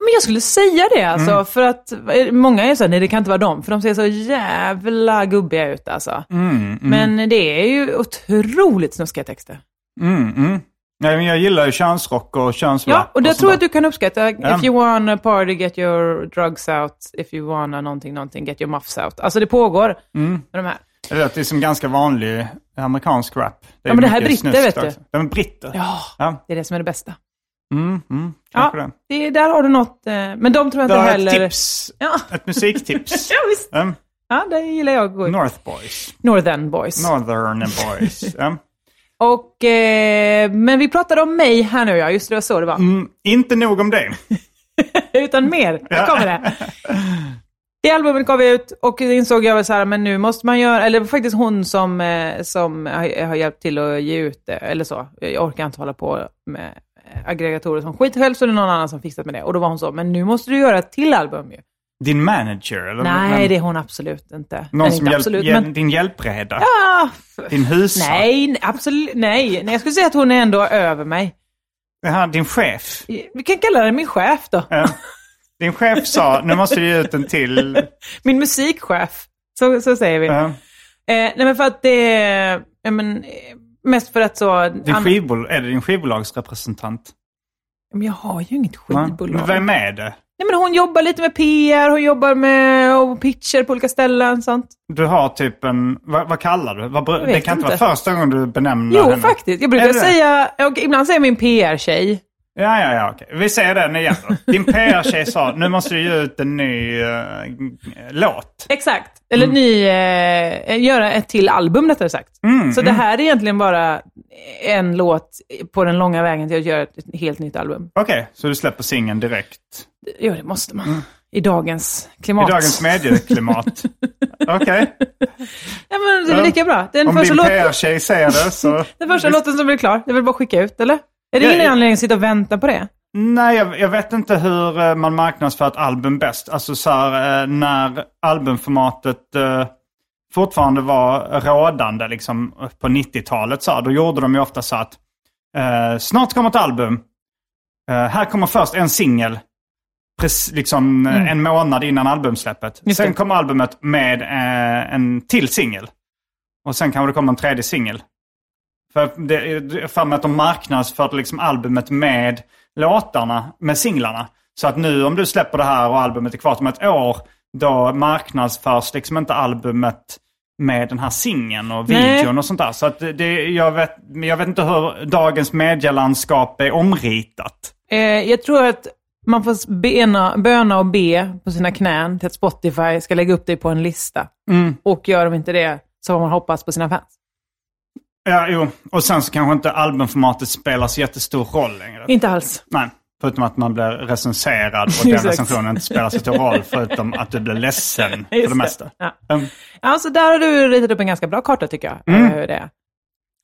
Speaker 3: Men jag skulle säga det alltså,
Speaker 1: Mm.
Speaker 3: för att eh, många är så här, nej det kan inte vara dem, för de ser så jävla gubbiga ut alltså.
Speaker 1: Mm,
Speaker 3: Men det är ju otroligt snuskiga texter.
Speaker 1: Mm, mm. Nej, men jag gillar ju könsrock och könsrap.
Speaker 3: Ja, och det
Speaker 1: sånt
Speaker 3: tror jag
Speaker 1: där.
Speaker 3: att du kan uppskatta.
Speaker 1: Ja.
Speaker 3: If you wanna party, get your drugs out. If you wanna någonting, någonting, get your muffs out. Alltså det pågår
Speaker 1: Mm.
Speaker 3: med de här.
Speaker 1: Jag vet, det är som ganska vanlig amerikansk rap. är
Speaker 3: Ja, men det här är
Speaker 1: mycket
Speaker 3: britter,
Speaker 1: snuskt
Speaker 3: vet du.
Speaker 1: också. De är britter.
Speaker 3: Ja,
Speaker 1: Ja.
Speaker 3: det är det som är det bästa.
Speaker 1: Mm, mm,
Speaker 3: Ja,
Speaker 1: kanske det.
Speaker 3: det, där har du något. eh, Men de tror jag
Speaker 1: Det
Speaker 3: inte
Speaker 1: har
Speaker 3: heller...
Speaker 1: ett tips.
Speaker 3: Ja.
Speaker 1: Ett musiktips.
Speaker 3: (laughs) Ja, visst.
Speaker 1: Mm.
Speaker 3: Ja, det gillar jag att gå i.
Speaker 1: North Boys.
Speaker 3: Northern Boys.
Speaker 1: Northern Boys. Mm.
Speaker 3: Och, eh, men vi pratade om mig här nu, ja. Just det, det, var så det var.
Speaker 1: Mm, inte nog om det.
Speaker 3: (laughs) Utan mer. Här kommer det. Det albumet gav jag ut och det insåg jag väl så här, men nu måste man göra, eller faktiskt hon som, eh, som har har hjälpt till att ge ut det, eller så. Jag orkar inte hålla på med aggregatorer som skit själv, så det är någon annan som fixat med det. Och då var hon så, men nu måste du göra ett till album ju.
Speaker 1: Din manager? Eller
Speaker 3: Nej,
Speaker 1: vem?
Speaker 3: det är hon absolut inte.
Speaker 1: Någon
Speaker 3: Eller
Speaker 1: som
Speaker 3: inte
Speaker 1: hjälp,
Speaker 3: absolut,
Speaker 1: hjäl-
Speaker 3: men-
Speaker 1: Din hjälpreda?
Speaker 3: Ah, f-
Speaker 1: Din husar?
Speaker 3: nej, nej, absolut, nej. nej. Jag skulle säga att hon är ändå över mig.
Speaker 1: Jaha, din chef?
Speaker 3: Vi kan kalla henne min chef då.
Speaker 1: Ja. Din chef sa, nu måste du ge ut en till.
Speaker 3: Min musikchef. Så, så säger vi.
Speaker 1: Ja.
Speaker 3: Eh, nej men för att det är, ja, men, eh, mest för att så...
Speaker 1: Din
Speaker 3: an-
Speaker 1: skivbol- är det din skivbolagsrepresentant?
Speaker 3: Men jag har ju inget
Speaker 1: Va?
Speaker 3: skivbolag.
Speaker 1: Men vem är det?
Speaker 3: Nej men hon jobbar lite med PR, hon jobbar med och pitcher på olika ställen sånt.
Speaker 1: Du har typ en, vad, vad kallar du? Vad, br-
Speaker 3: Jag
Speaker 1: det
Speaker 3: vet
Speaker 1: kan inte vara
Speaker 3: inte.
Speaker 1: första gången du benämner
Speaker 3: jo
Speaker 1: henne.
Speaker 3: faktiskt, jag
Speaker 1: Är
Speaker 3: brukar
Speaker 1: det det?
Speaker 3: säga, och ibland säger min PR-tjej.
Speaker 1: Ja, ja, ja. Okej. Vi säger den igen då. Din PR-tjej sa, nu måste du ge ut en ny eh, g- låt.
Speaker 3: Exakt, eller
Speaker 1: Mm.
Speaker 3: ny, eh, göra ett till album rättare sagt.
Speaker 1: Mm,
Speaker 3: så det här är egentligen bara en låt på den långa vägen till att göra ett helt nytt album.
Speaker 1: Okej, så du släpper singeln direkt.
Speaker 3: Jo, det måste man. I dagens klimat.
Speaker 1: Mm. I dagens medieklimat. Okej.
Speaker 3: Ja, men det är lika bra. (laughs) Den
Speaker 1: Om
Speaker 3: första
Speaker 1: din
Speaker 3: låten...
Speaker 1: PR-tjej säger det så...
Speaker 3: Den första låten som blir klar, det är väl bara att skicka ut, eller? Är det
Speaker 1: Ja,
Speaker 3: ingen
Speaker 1: ja.
Speaker 3: anledning att sitta och vänta på det?
Speaker 1: Nej, jag, jag vet inte hur eh, man marknadsför ett album bäst. Alltså så här, eh, när albumformatet eh, fortfarande var rådande liksom, på 90-talet. Så här, då gjorde de ju ofta så att eh, snart kommer ett album. Eh, här kommer först en singel. Prec- Liksom eh, en månad innan albumsläppet.
Speaker 3: Mm. Just
Speaker 1: Sen
Speaker 3: det.
Speaker 1: kommer albumet med eh, en till singel. Och sen kanske det kommer en tredje singel. För det, jag har för mig att de marknadsförde liksom albumet med låtarna, med singlarna. Så att nu om du släpper det här och albumet är kvar om ett år, då marknadsförs liksom inte albumet med den här singeln och
Speaker 3: Nej.
Speaker 1: videon och sånt där. Så att det, jag, vet, men jag vet inte hur dagens medielandskap är omritat.
Speaker 3: Eh, jag tror att man får bena, böna och be på sina knän till att Spotify ska lägga upp dig på en lista.
Speaker 1: Mm.
Speaker 3: Och gör de inte det så har man hoppats på sina fans.
Speaker 1: Ja, jo. Och sen så kanske inte albumformatet spelar så jättestor roll längre.
Speaker 3: Inte alls.
Speaker 1: Nej, förutom att man blir recenserad
Speaker 3: (laughs)
Speaker 1: och den
Speaker 3: Exakt.
Speaker 1: recensionen inte spelar så stor roll förutom att du blir ledsen för
Speaker 3: (laughs) Just
Speaker 1: det mesta.
Speaker 3: Ja.
Speaker 1: Um,
Speaker 3: Ja, så där har du ritat upp en ganska bra karta tycker jag.
Speaker 1: Mm.
Speaker 3: över Hur det är.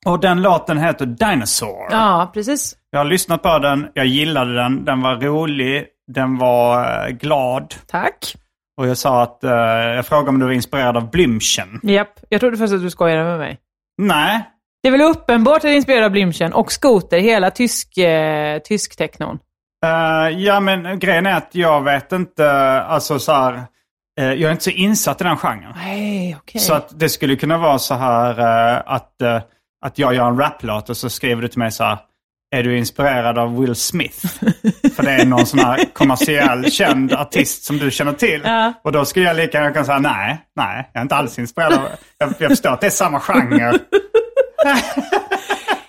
Speaker 1: och den låten heter Dinosaur.
Speaker 3: Ja, precis.
Speaker 1: Jag har lyssnat på den, jag gillade den, den var rolig, den var eh, glad.
Speaker 3: Tack.
Speaker 1: Och jag sa att, eh, jag frågade om du var inspirerad av Blümchen.
Speaker 3: Japp. Jag trodde först att du skojade med mig.
Speaker 1: Nej,
Speaker 3: Det är väl uppenbart att det inspirerar Blümchen och Skoter, hela tysk, eh, tysk teknon.
Speaker 1: Eh, ja, men grejen är att jag vet inte, alltså så här, eh, jag är inte så insatt i den genren.
Speaker 3: Nej, okej.
Speaker 1: Så att det skulle kunna vara så här eh, att, eh, att jag gör en raplåt och så skriver du till mig så här, är du inspirerad av Will
Speaker 3: (laughs)
Speaker 1: Smith? För det är någon sån här kommersiell känd artist som du känner till.
Speaker 3: Ja.
Speaker 1: Och då skulle jag lika gärna kunna säga nej, nej, jag är inte alls inspirerad. Av, jag, jag förstår att det är samma
Speaker 3: (laughs)
Speaker 1: genre.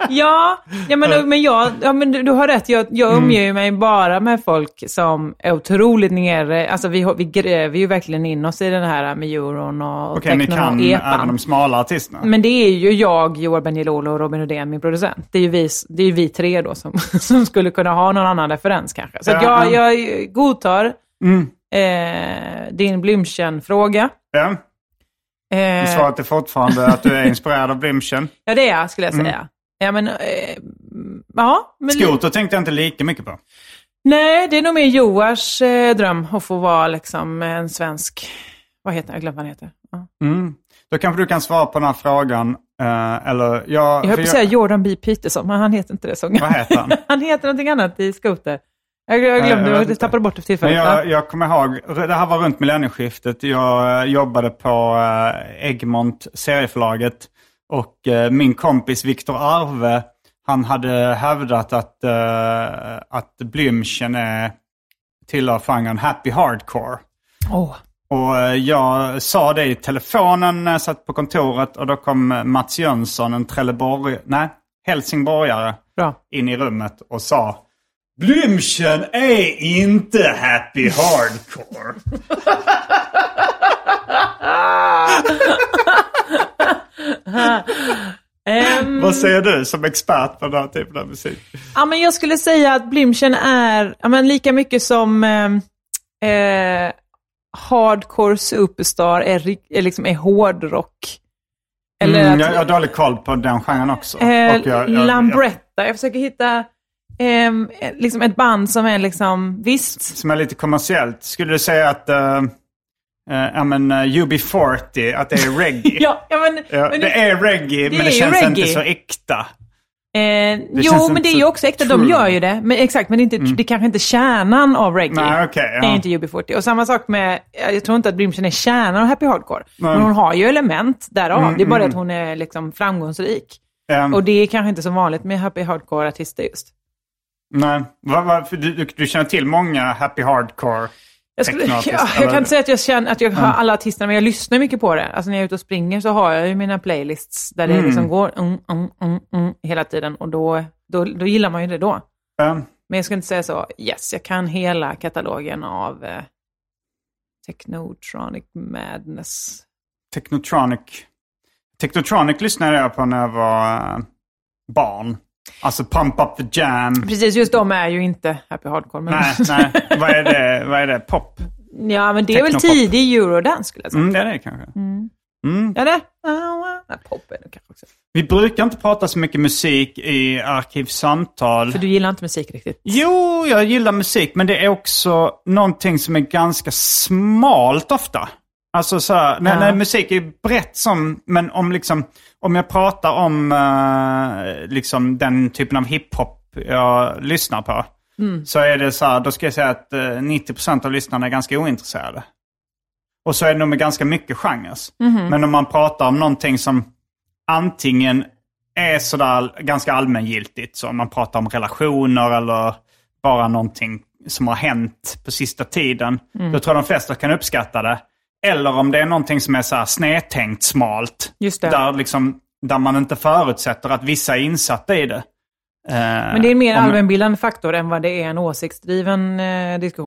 Speaker 3: Ja, ja, men, men, jag, ja, men du, du har rätt. Jag, jag
Speaker 1: Mm.
Speaker 3: umger ju mig bara med folk som är otroligt nere. Alltså, vi, har- vi gräver ju verkligen in oss i den här med euron och
Speaker 1: Okej, ni
Speaker 3: technon och
Speaker 1: kan även
Speaker 3: epan.
Speaker 1: de smala artisterna.
Speaker 3: Men det är ju jag, Joel Beniololo och Robin Rudén, min producent. Det är ju vi, det är ju vi tre då som, (laughs) som skulle kunna ha någon annan referens kanske. Så att
Speaker 1: Ja, Mm.
Speaker 3: jag, jag godtar eh, din Blümchen-fråga.
Speaker 1: Ja.
Speaker 3: Eh,
Speaker 1: Svaret är fortfarande att
Speaker 3: (laughs)
Speaker 1: du är inspirerad av Blümchen.
Speaker 3: ja, det är jag skulle jag
Speaker 1: Mm.
Speaker 3: säga. Ja, men... Eh, ja, men
Speaker 1: Skoter tänkte jag inte lika mycket på.
Speaker 3: Nej, det är nog mer Joars eh, dröm att få vara liksom en svensk... Vad heter han? Jag glömde vad han heter. Ja.
Speaker 1: Mm. Då kanske du kan svara på den här frågan. eh, eller jag...
Speaker 3: Jag höll på att säga Jordan B. Peterson, men han heter inte det. Så.
Speaker 1: Vad heter han?
Speaker 3: (laughs) han heter någonting annat i Scooter. Jag, jag
Speaker 1: Nej, jag
Speaker 3: glömde,
Speaker 1: vet
Speaker 3: jag,
Speaker 1: inte.
Speaker 3: tappade bort det för
Speaker 1: Men
Speaker 3: tillfället.
Speaker 1: jag,
Speaker 3: Ja.
Speaker 1: jag kommer ihåg, det här var runt millennieskiftet. Jag eh, jobbade på eh, Egmont, serieförlaget. Och eh, min kompis Viktor Arve, han hade hävdat att, eh, att Blümchen är, tillhör genren happy hardcore.
Speaker 3: Åh.
Speaker 1: Och eh, jag sa det i telefonen när jag satt på kontoret och då kom eh, Mats Jönsson, en Trelleborg, nej, helsingborgare,
Speaker 3: Bra.
Speaker 1: in i rummet och sa Blümchen är inte happy hardcore.
Speaker 3: Ehm,
Speaker 1: Vad säger du som expert på den här typen av musik?
Speaker 3: ja, men jag skulle säga att Blümchen är ja, men lika mycket som eh, eh, Hardcore Superstar är, ri- är, liksom, är hårdrock. Eller
Speaker 1: Mm,
Speaker 3: att-
Speaker 1: jag, jag har dålig koll på den genren också. Och
Speaker 3: Eh,
Speaker 1: jag- jag- jag-
Speaker 3: Lambretta. Jag försöker hitta ehm, eh, liksom ett band som är liksom, visst.
Speaker 1: Som är lite kommersiellt. Skulle du säga att eh, eh, ja, men, eh, UB40, att det är reggae?
Speaker 3: (laughs) Ja, ja men...
Speaker 1: Ja,
Speaker 3: men
Speaker 1: det är reggae, men
Speaker 3: är
Speaker 1: det
Speaker 3: ju
Speaker 1: känns inte
Speaker 3: reggae.
Speaker 1: så äkta.
Speaker 3: eh,
Speaker 1: känns
Speaker 3: jo, men
Speaker 1: inte
Speaker 3: det är
Speaker 1: så
Speaker 3: ju också äkta. De
Speaker 1: true.
Speaker 3: gör ju det. Men, exakt, men det är, inte, det är kanske inte kärnan av reggae.
Speaker 1: Nej, okej, ja.
Speaker 3: är inte UB40. Och samma sak med, jag tror inte att Blümchen är kärnan av happy hardcore. Men hon har ju element därav.
Speaker 1: Mm,
Speaker 3: det är bara att hon är liksom framgångsrik.
Speaker 1: Ehm,
Speaker 3: Och det är kanske inte så vanligt med happy hardcore-artister just.
Speaker 1: nej. Vad- vad- för du, du, du känner till många happy hardcore?
Speaker 3: Jag, skulle, (laughs)
Speaker 1: Technoartist,
Speaker 3: ja,
Speaker 1: eller? Mm.
Speaker 3: jag kan inte säga att jag känner att jag har alla artisterna, men jag lyssnar mycket på det. Alltså när jag är ute och springer så har jag ju mina playlists där det liksom går mm, mm, mm, mm, hela tiden och då, då, då gillar man ju det då.
Speaker 1: Ehm,
Speaker 3: Men jag skulle inte säga så, yes, jag kan hela katalogen av eh, Technotronic Madness.
Speaker 1: Technotronic. Technotronic lyssnade jag på när jag var eh, barn. Alltså Pump Up The Jam.
Speaker 3: Precis, just de är ju inte happy hardcore. Men,
Speaker 1: Mm. Nej, nej. Vad är det? Vad är det? Pop?
Speaker 3: (laughs) ja, men det är väl
Speaker 1: Technopop.
Speaker 3: tidig eurodance skulle jag säga.
Speaker 1: Mm, det är det kanske.
Speaker 3: Ja, det? Nej, pop är det kanske också.
Speaker 1: Vi brukar inte prata så mycket musik i arkivsamtal.
Speaker 3: För du gillar inte musik riktigt.
Speaker 1: Jo, jag gillar musik, men det är också någonting som är ganska smalt ofta. Alltså så här, nej,
Speaker 3: Ja.
Speaker 1: nej, musik är brett som, men om liksom, om jag pratar om eh, liksom den typen av hiphop jag lyssnar på.
Speaker 3: Mm.
Speaker 1: Så är det så här, då ska jag säga att eh, 90% av lyssnarna är ganska ointresserade. Och så är det nog med ganska mycket genrer.
Speaker 3: Mhm.
Speaker 1: Men om man pratar om någonting som antingen är sådär ganska allmängiltigt, så om man pratar om relationer eller
Speaker 3: Mm.
Speaker 1: bara någonting som har hänt på sista tiden, då tror jag de flesta kan uppskatta det.
Speaker 2: Eller om det är någonting som är så här snedtänkt smalt.
Speaker 3: Just det.
Speaker 2: Där, liksom, där man inte förutsätter att vissa är insatta i det.
Speaker 1: Eh,
Speaker 3: Men det är en mer allmänbildande faktor än vad det är en åsiktsdriven eh, diskussion.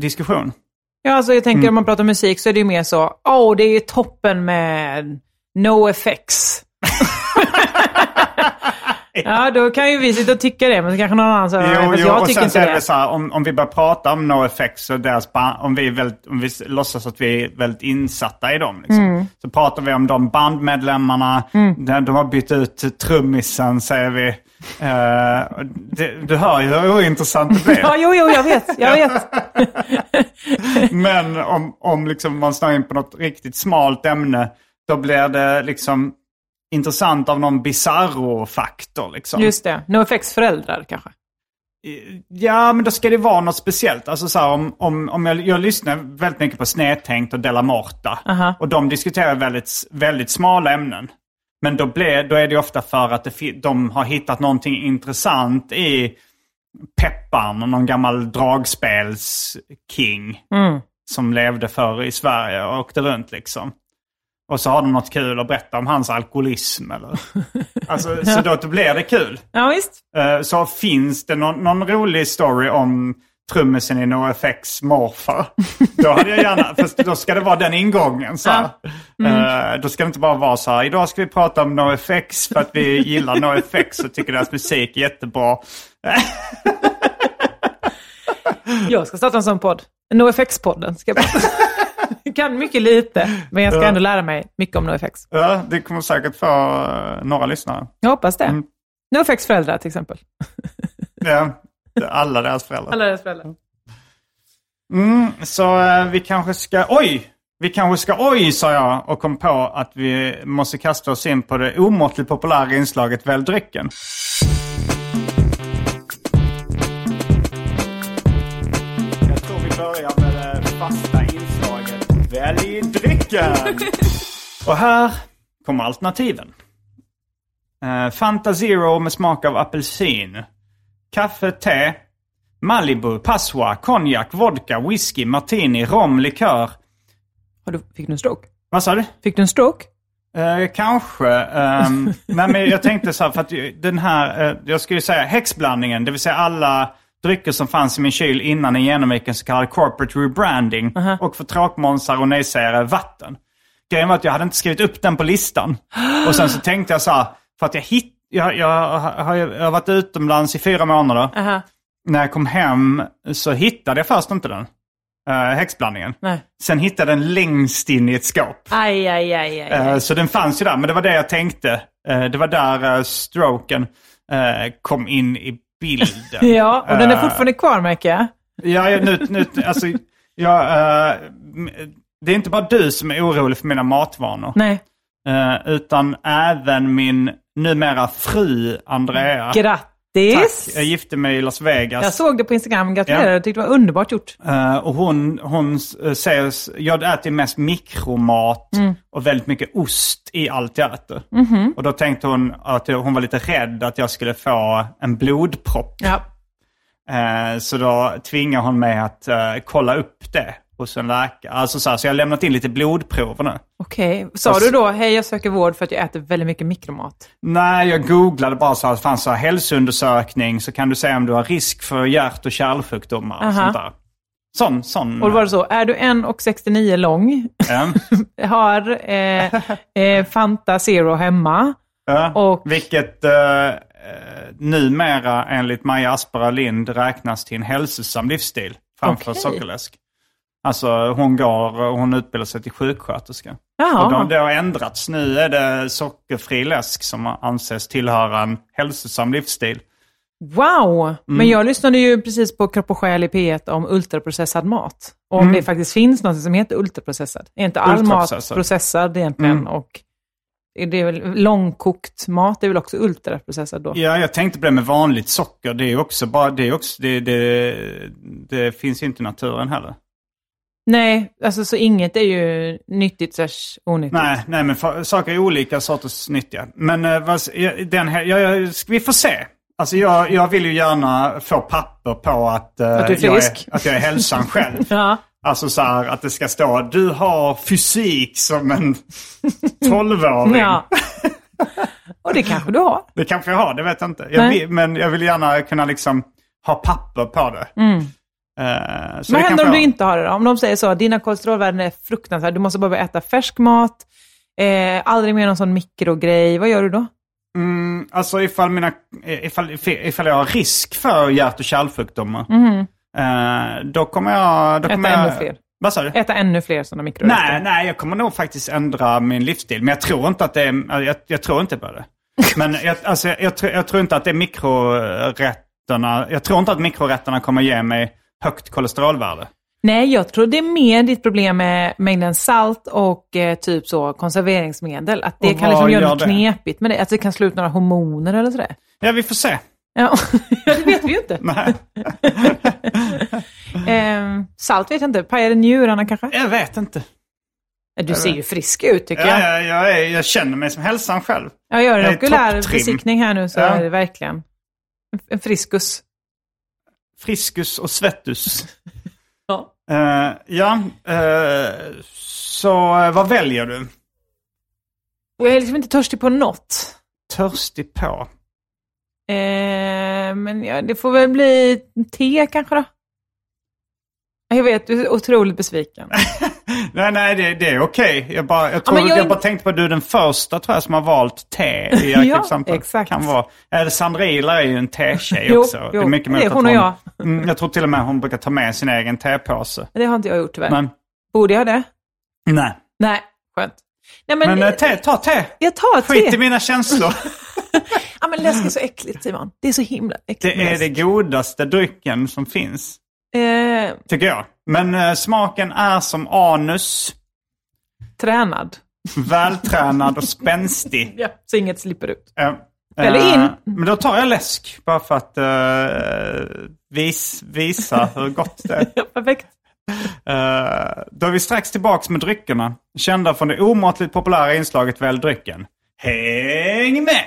Speaker 2: Diskussion.
Speaker 3: Ja, alltså jag tänker
Speaker 2: Mm.
Speaker 3: om man pratar musik så är det ju mer så, åh, det är toppen med no
Speaker 2: (laughs)
Speaker 3: effects. ja, då kan ju vi sitta och tycka det, men så kanske någon annan säger, "Nej, fast jag
Speaker 2: och
Speaker 3: tycker
Speaker 2: sen så
Speaker 3: inte
Speaker 2: är
Speaker 3: det.
Speaker 2: det så här, om, om vi börjar prata om NoFX och deras band, om vi, är väldigt, om vi s- låtsas att vi är väldigt insatta i dem. Liksom,
Speaker 3: Mm.
Speaker 2: Så pratar vi om de bandmedlemmarna, de, de har bytt ut trummisen säger vi. Eh, det, du hör ju hur ointressant det
Speaker 3: (laughs) Ja,
Speaker 2: blir.
Speaker 3: jo, jo, jag vet,
Speaker 2: (laughs)
Speaker 3: jag vet.
Speaker 2: Men om, om liksom man snör in på något riktigt smalt ämne, då blir det liksom intressant av någon bizarro-faktor. Liksom.
Speaker 3: Just det, no effects föräldrar kanske.
Speaker 2: Ja, men då ska det vara något speciellt. Alltså så här, om, om, om jag, jag lyssnar väldigt mycket på Snedtänkt och Della Morta.
Speaker 3: Aha.
Speaker 2: Och de diskuterar väldigt, väldigt smala ämnen. Men då, blir, då är det ofta för att det, fi- de har hittat någonting intressant i Pepparn, och någon gammal dragspelsking. Som levde förr i Sverige och åkte runt liksom. Och så har de något kul att berätta om hans alkoholism eller... Alltså, så då, då blir det kul.
Speaker 3: Ja, visst.
Speaker 2: Eh, så finns det någon, någon rolig story om trummisen i NoFX morfar. Då hade jag gärna, (laughs) fast då ska det vara den ingången. Så här. Eh, då ska det inte bara vara så här, idag ska vi prata om NoFX för att vi gillar NoFX och tycker deras musik är jättebra.
Speaker 3: Jag ska starta en sån podd. NoFX-podden. Ska jag prata.
Speaker 2: (laughs)
Speaker 3: jag kan mycket lite, men jag ska ändå lära mig mycket om NoFX.
Speaker 2: Ja, det kommer säkert få eh, några lyssnare.
Speaker 3: Jag hoppas det.
Speaker 2: Mm.
Speaker 3: NoFX föräldrar till exempel.
Speaker 2: Ja, alla deras föräldrar.
Speaker 3: Alla deras föräldrar.
Speaker 2: Mm, så eh, vi kanske ska, oj! Vi kanske ska, oj sa jag och kom på att vi måste kasta oss in på det omåttligt populära inslaget Välj drycken. Jag tror vi börjar med det fasta inslaget Välj drycken! och här kommer alternativen. Eh, Fanta Zero med smak av apelsin. Kaffe, te, Malibu, Passoa, konjak, vodka, whisky, martini, rom, likör.
Speaker 3: Har du, fick du en stroke?
Speaker 2: Vad sa du?
Speaker 3: Fick du en stroke?
Speaker 2: Eh, kanske.
Speaker 3: (laughs)
Speaker 2: Ehm, nej, men jag tänkte så här, för att ju- den här, eh, jag skulle säga häxblandningen, det vill säga alla drycker som fanns i min kyl innan den genomgick en så kallad corporate rebranding och för tråkmånsar och nejsägare
Speaker 3: (gasps)
Speaker 2: vatten. Grejen var att jag hade inte skrivit upp den på listan. Och sen så tänkte jag så här, för att jag hitt, jag, jag, har, jag har varit utomlands i fyra månader.
Speaker 3: Aha.
Speaker 2: När jag kom hem så hittade jag först inte den. Uh, häxblandningen.
Speaker 3: Nej.
Speaker 2: Sen hittade jag den längst in i ett skåp.
Speaker 3: Aj, aj, aj, aj.
Speaker 2: Eh, Så den fanns ju där, men det var det jag tänkte. Eh, Det var där eh, stroken eh, kom in i bilden.
Speaker 3: (laughs) Ja, och den är
Speaker 2: Eh,
Speaker 3: fortfarande kvar märker jag.
Speaker 2: Ja, ja, nu, nu, alltså, ja, eh, m- det är inte bara du som är orolig för mina matvanor.
Speaker 3: Nej,
Speaker 2: Eh, utan även min numera fru Andrea.
Speaker 3: grattis!
Speaker 2: Tack. Jag gifte mig i Las Vegas.
Speaker 3: Jag såg det på Instagram, gratulerar,
Speaker 2: Ja.
Speaker 3: jag tyckte det var underbart gjort.
Speaker 2: Eh, och hon, hon eh, säger, s- jag äter mest mikromat
Speaker 3: Mm.
Speaker 2: och väldigt mycket ost i allt jag äter.
Speaker 3: Mhm.
Speaker 2: Och då tänkte hon att jag, hon var lite rädd att jag skulle få en blodpropp.
Speaker 3: Ja.
Speaker 2: Eh, så då tvingade hon mig att eh, kolla upp det hos en läkare. Alltså så, här, så jag har lämnat in lite blodprover nu.
Speaker 3: Okej, sa du då hej jag söker vård för att jag äter väldigt mycket mikromat?
Speaker 2: Nej, jag googlade bara så här, det fanns så här hälsoundersökning så kan du säga om du har risk för hjärt och kärlsjukdomar och
Speaker 3: Aha.
Speaker 2: sånt där. Sån, sån.
Speaker 3: Och då var det så, är du 1,69 lång, (laughs)
Speaker 2: eh,
Speaker 3: har eh, eh, Fanta Zero hemma,
Speaker 2: Ja,
Speaker 3: Och-
Speaker 2: Vilket eh, eh, numera enligt Maja Aspera Lind räknas till en hälsosam livsstil framför
Speaker 3: Okej.
Speaker 2: sockerläsk. Alltså hon går, hon utbildar sig till sjuksköterska. Och
Speaker 3: Jaha.
Speaker 2: de, det har ändrats. Nu är det sockerfri läsk som anses tillhöra en hälsosam livsstil.
Speaker 3: Wow!
Speaker 2: Mm.
Speaker 3: Men jag lyssnade ju precis på Kropp och Själ i P1 om ultraprocessad mat. Och om det faktiskt finns något som heter ultraprocessad. Är inte all
Speaker 2: Mm.
Speaker 3: mat
Speaker 2: Ultraprocessad. Mm.
Speaker 3: processad egentligen? Och är det är väl långkokt mat är väl också ultraprocessad då?
Speaker 2: Ja, jag tänkte på det med vanligt socker. Det är också bara, det är också, det, det, det finns ju inte i naturen heller.
Speaker 3: Nej, alltså så inget är ju nyttigt slash onyttigt.
Speaker 2: Nej, nej men fa- saker är olika sorters nyttiga. Men eh, vad, s- ja, den här, ja, ja, ska vi får se. Alltså jag, jag vill ju gärna få papper på att, eh,
Speaker 3: Att du är
Speaker 2: jag,
Speaker 3: frisk.
Speaker 2: är, att jag är hälsan själv.
Speaker 3: (laughs) Ja.
Speaker 2: Alltså så här att det ska stå du har fysik som
Speaker 3: (laughs)
Speaker 2: en tolvåring.
Speaker 3: Ja. (laughs) Och det kanske du har.
Speaker 2: Det kanske jag har, det vet jag inte. Jag
Speaker 3: Nej.
Speaker 2: vill, men jag vill gärna kunna liksom ha papper på det. Eh, så
Speaker 3: Mm. Vad
Speaker 2: det
Speaker 3: händer
Speaker 2: kanske
Speaker 3: om
Speaker 2: jag
Speaker 3: du
Speaker 2: har.
Speaker 3: inte har det då? Om de säger så, dina kolesterolvärden är fruktansvärda, du måste bara börja äta färsk mat, eh, aldrig mer någon sån mikrogrej, vad gör du då?
Speaker 2: Mm, alltså ifall, mina, ifall, ifall jag har risk för hjärt och kärlsjukdomar, eh, då kommer jag... Då
Speaker 3: Mhm. Äta
Speaker 2: kommer jag,
Speaker 3: ännu fler.
Speaker 2: Vad sa du?
Speaker 3: Äta ännu fler sådana mikrorester?
Speaker 2: Nej, nej, jag kommer nog faktiskt ändra min livsstil. Men jag tror inte att det är... Jag, jag tror inte
Speaker 3: (laughs)
Speaker 2: på det. Men jag, alltså, jag, jag, tror, jag tror inte att det är mikrorätterna... Jag tror inte att mikrorätterna kommer ge mig högt kolesterolvärde.
Speaker 3: Nej, jag tror det är mer ditt problem med mängden salt och eh, typ så konserveringsmedel. Att det
Speaker 2: Och
Speaker 3: kan
Speaker 2: vad
Speaker 3: liksom göra
Speaker 2: gör
Speaker 3: något
Speaker 2: det?
Speaker 3: knepigt med det. Att det kan slå ut några hormoner eller sådär.
Speaker 2: Ja, vi får
Speaker 3: (laughs)
Speaker 2: se.
Speaker 3: Ja, det vet vi ju inte.
Speaker 2: Nej,
Speaker 3: Ehm, salt vet jag inte. Pajade njurarna kanske?
Speaker 2: jag vet inte.
Speaker 3: Du ser ju frisk ut tycker
Speaker 2: Ja,
Speaker 3: jag.
Speaker 2: jag, jag, är, jag känner mig som hälsan själv.
Speaker 3: Jag gör
Speaker 2: jag
Speaker 3: en
Speaker 2: är
Speaker 3: okulär
Speaker 2: topptrim.
Speaker 3: besiktning här nu så
Speaker 2: Ja.
Speaker 3: är det verkligen en- en friskus.
Speaker 2: Friskus och svettus.
Speaker 3: (laughs) Ja.
Speaker 2: Eh, ja, eh, så eh, vad väljer du?
Speaker 3: Och jag är liksom inte törstig på något.
Speaker 2: Törstig på.
Speaker 3: Ehm, men ja, det får väl bli te kanske då. Jag vet, du är
Speaker 2: (laughs)
Speaker 3: otroligt besviken.
Speaker 2: Nej, nej, det, det är okej. Jag, bara, jag,
Speaker 3: Ja,
Speaker 2: tror,
Speaker 3: men jag
Speaker 2: jag,
Speaker 3: är-
Speaker 2: bara tänkte på att du är den första tror jag, som har valt te
Speaker 3: (laughs)
Speaker 2: i
Speaker 3: Ja,
Speaker 2: arkivsamtal.
Speaker 3: exakt.
Speaker 2: Kan vara. Alessandra Ilar är ju en te-tjej
Speaker 3: Jo,
Speaker 2: också.
Speaker 3: jo, det är
Speaker 2: möjligt att
Speaker 3: hon och jag.
Speaker 2: Mm, jag tror till och med hon brukar ta med sin egen tepåse.
Speaker 3: Det har inte jag gjort tyvärr.
Speaker 2: Men
Speaker 3: Borde jag det?
Speaker 2: nej.
Speaker 3: Nej, skönt. Nej, men,
Speaker 2: Men, eh, te, ta te!
Speaker 3: jag tar
Speaker 2: Skit i
Speaker 3: te.
Speaker 2: mina
Speaker 3: (laughs)
Speaker 2: känslor.
Speaker 3: Ja, men läsk är så äckligt Simon. Det är så himla äckligt.
Speaker 2: Det är det godaste drycken som finns.
Speaker 3: Eh,
Speaker 2: Tycker jag. Men eh, smaken är som anus,
Speaker 3: tränad.
Speaker 2: vältränad och spänstig.
Speaker 3: (laughs) Ja. Så inget slipper ut.
Speaker 2: Eh,
Speaker 3: Eller in.
Speaker 2: eh, Men då tar jag läsk, bara för att eh, vis, visa hur gott det är.
Speaker 3: Ja, perfekt.
Speaker 2: Eh, då är vi strax tillbaks med dryckerna, kända från det omåttligt populära inslaget Välj drycken. Häng med!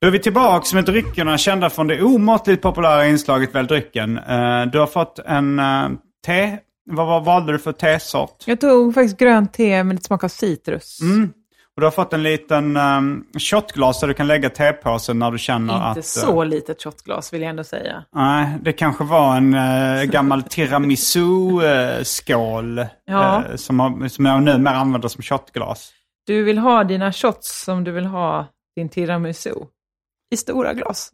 Speaker 2: Då är vi tillbaks med dryckerna kända från det omåttligt populära inslaget Välj drycken. Eh, du har fått en eh, te. Vad, vad valde du för tesort? Mm,
Speaker 3: Jag tog faktiskt grönt te med lite smak av citrus.
Speaker 2: Och du har fått en liten um, shotglas där du kan lägga tepåsen när du känner att... eh,
Speaker 3: Inte så litet shotglas vill jag ändå säga.
Speaker 2: Nej, det kanske var en eh, gammal tiramisu-skål
Speaker 3: Ja.
Speaker 2: eh, som, har- som jag numera använder som shotglas.
Speaker 3: Du vill ha dina shots som du vill ha din tiramisu. I stora glas.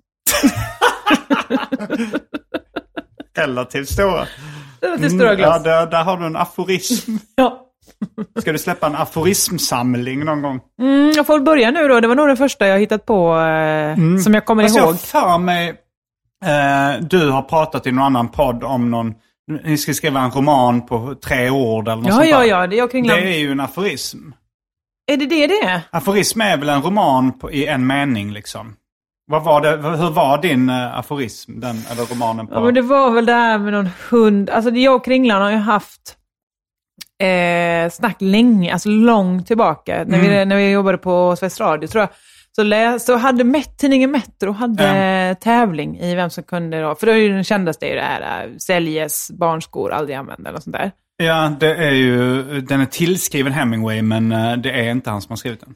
Speaker 2: Relativt stora.
Speaker 3: Till stora
Speaker 2: Mm, Ja,
Speaker 3: glas.
Speaker 2: där, där har du en aforism.
Speaker 3: Ja.
Speaker 2: Ska du släppa en aforismsamling någon gång?
Speaker 3: Mm, jag får väl börja nu då. Det var nog den första jag hittat på eh, som jag kommer
Speaker 2: Fast
Speaker 3: ihåg.
Speaker 2: Mm. Alltså, jag för mig, eh, du har pratat i någon annan podd om någon, ni ska skriva en roman på tre ord eller något
Speaker 3: Ja,
Speaker 2: sånt
Speaker 3: ja,
Speaker 2: där.
Speaker 3: ja. Det är jag kringlan.
Speaker 2: Det är ju en aforism.
Speaker 3: Är det det det är?
Speaker 2: Aforism är väl en roman på, i en mening liksom. Vad var det, hur var din eh, aforism, den, eller romanen på?
Speaker 3: Ja, men det var väl det här med någon hund. Alltså det- jag och Kringlan har ju haft eh, snack länge, alltså långt tillbaka. När,
Speaker 2: Mm.
Speaker 3: vi, när vi jobbade på Sveriges Radio tror jag. Så, läs, så hade Met, tidningen Metro hade eh, tävling i vem som kunde då. För då är ju den kändaste är ju det här, eh, säljes barnskor, aldrig använda eller sånt där.
Speaker 2: Ja, det är ju, den är tillskriven Hemingway men eh, det är inte han som har skrivit den.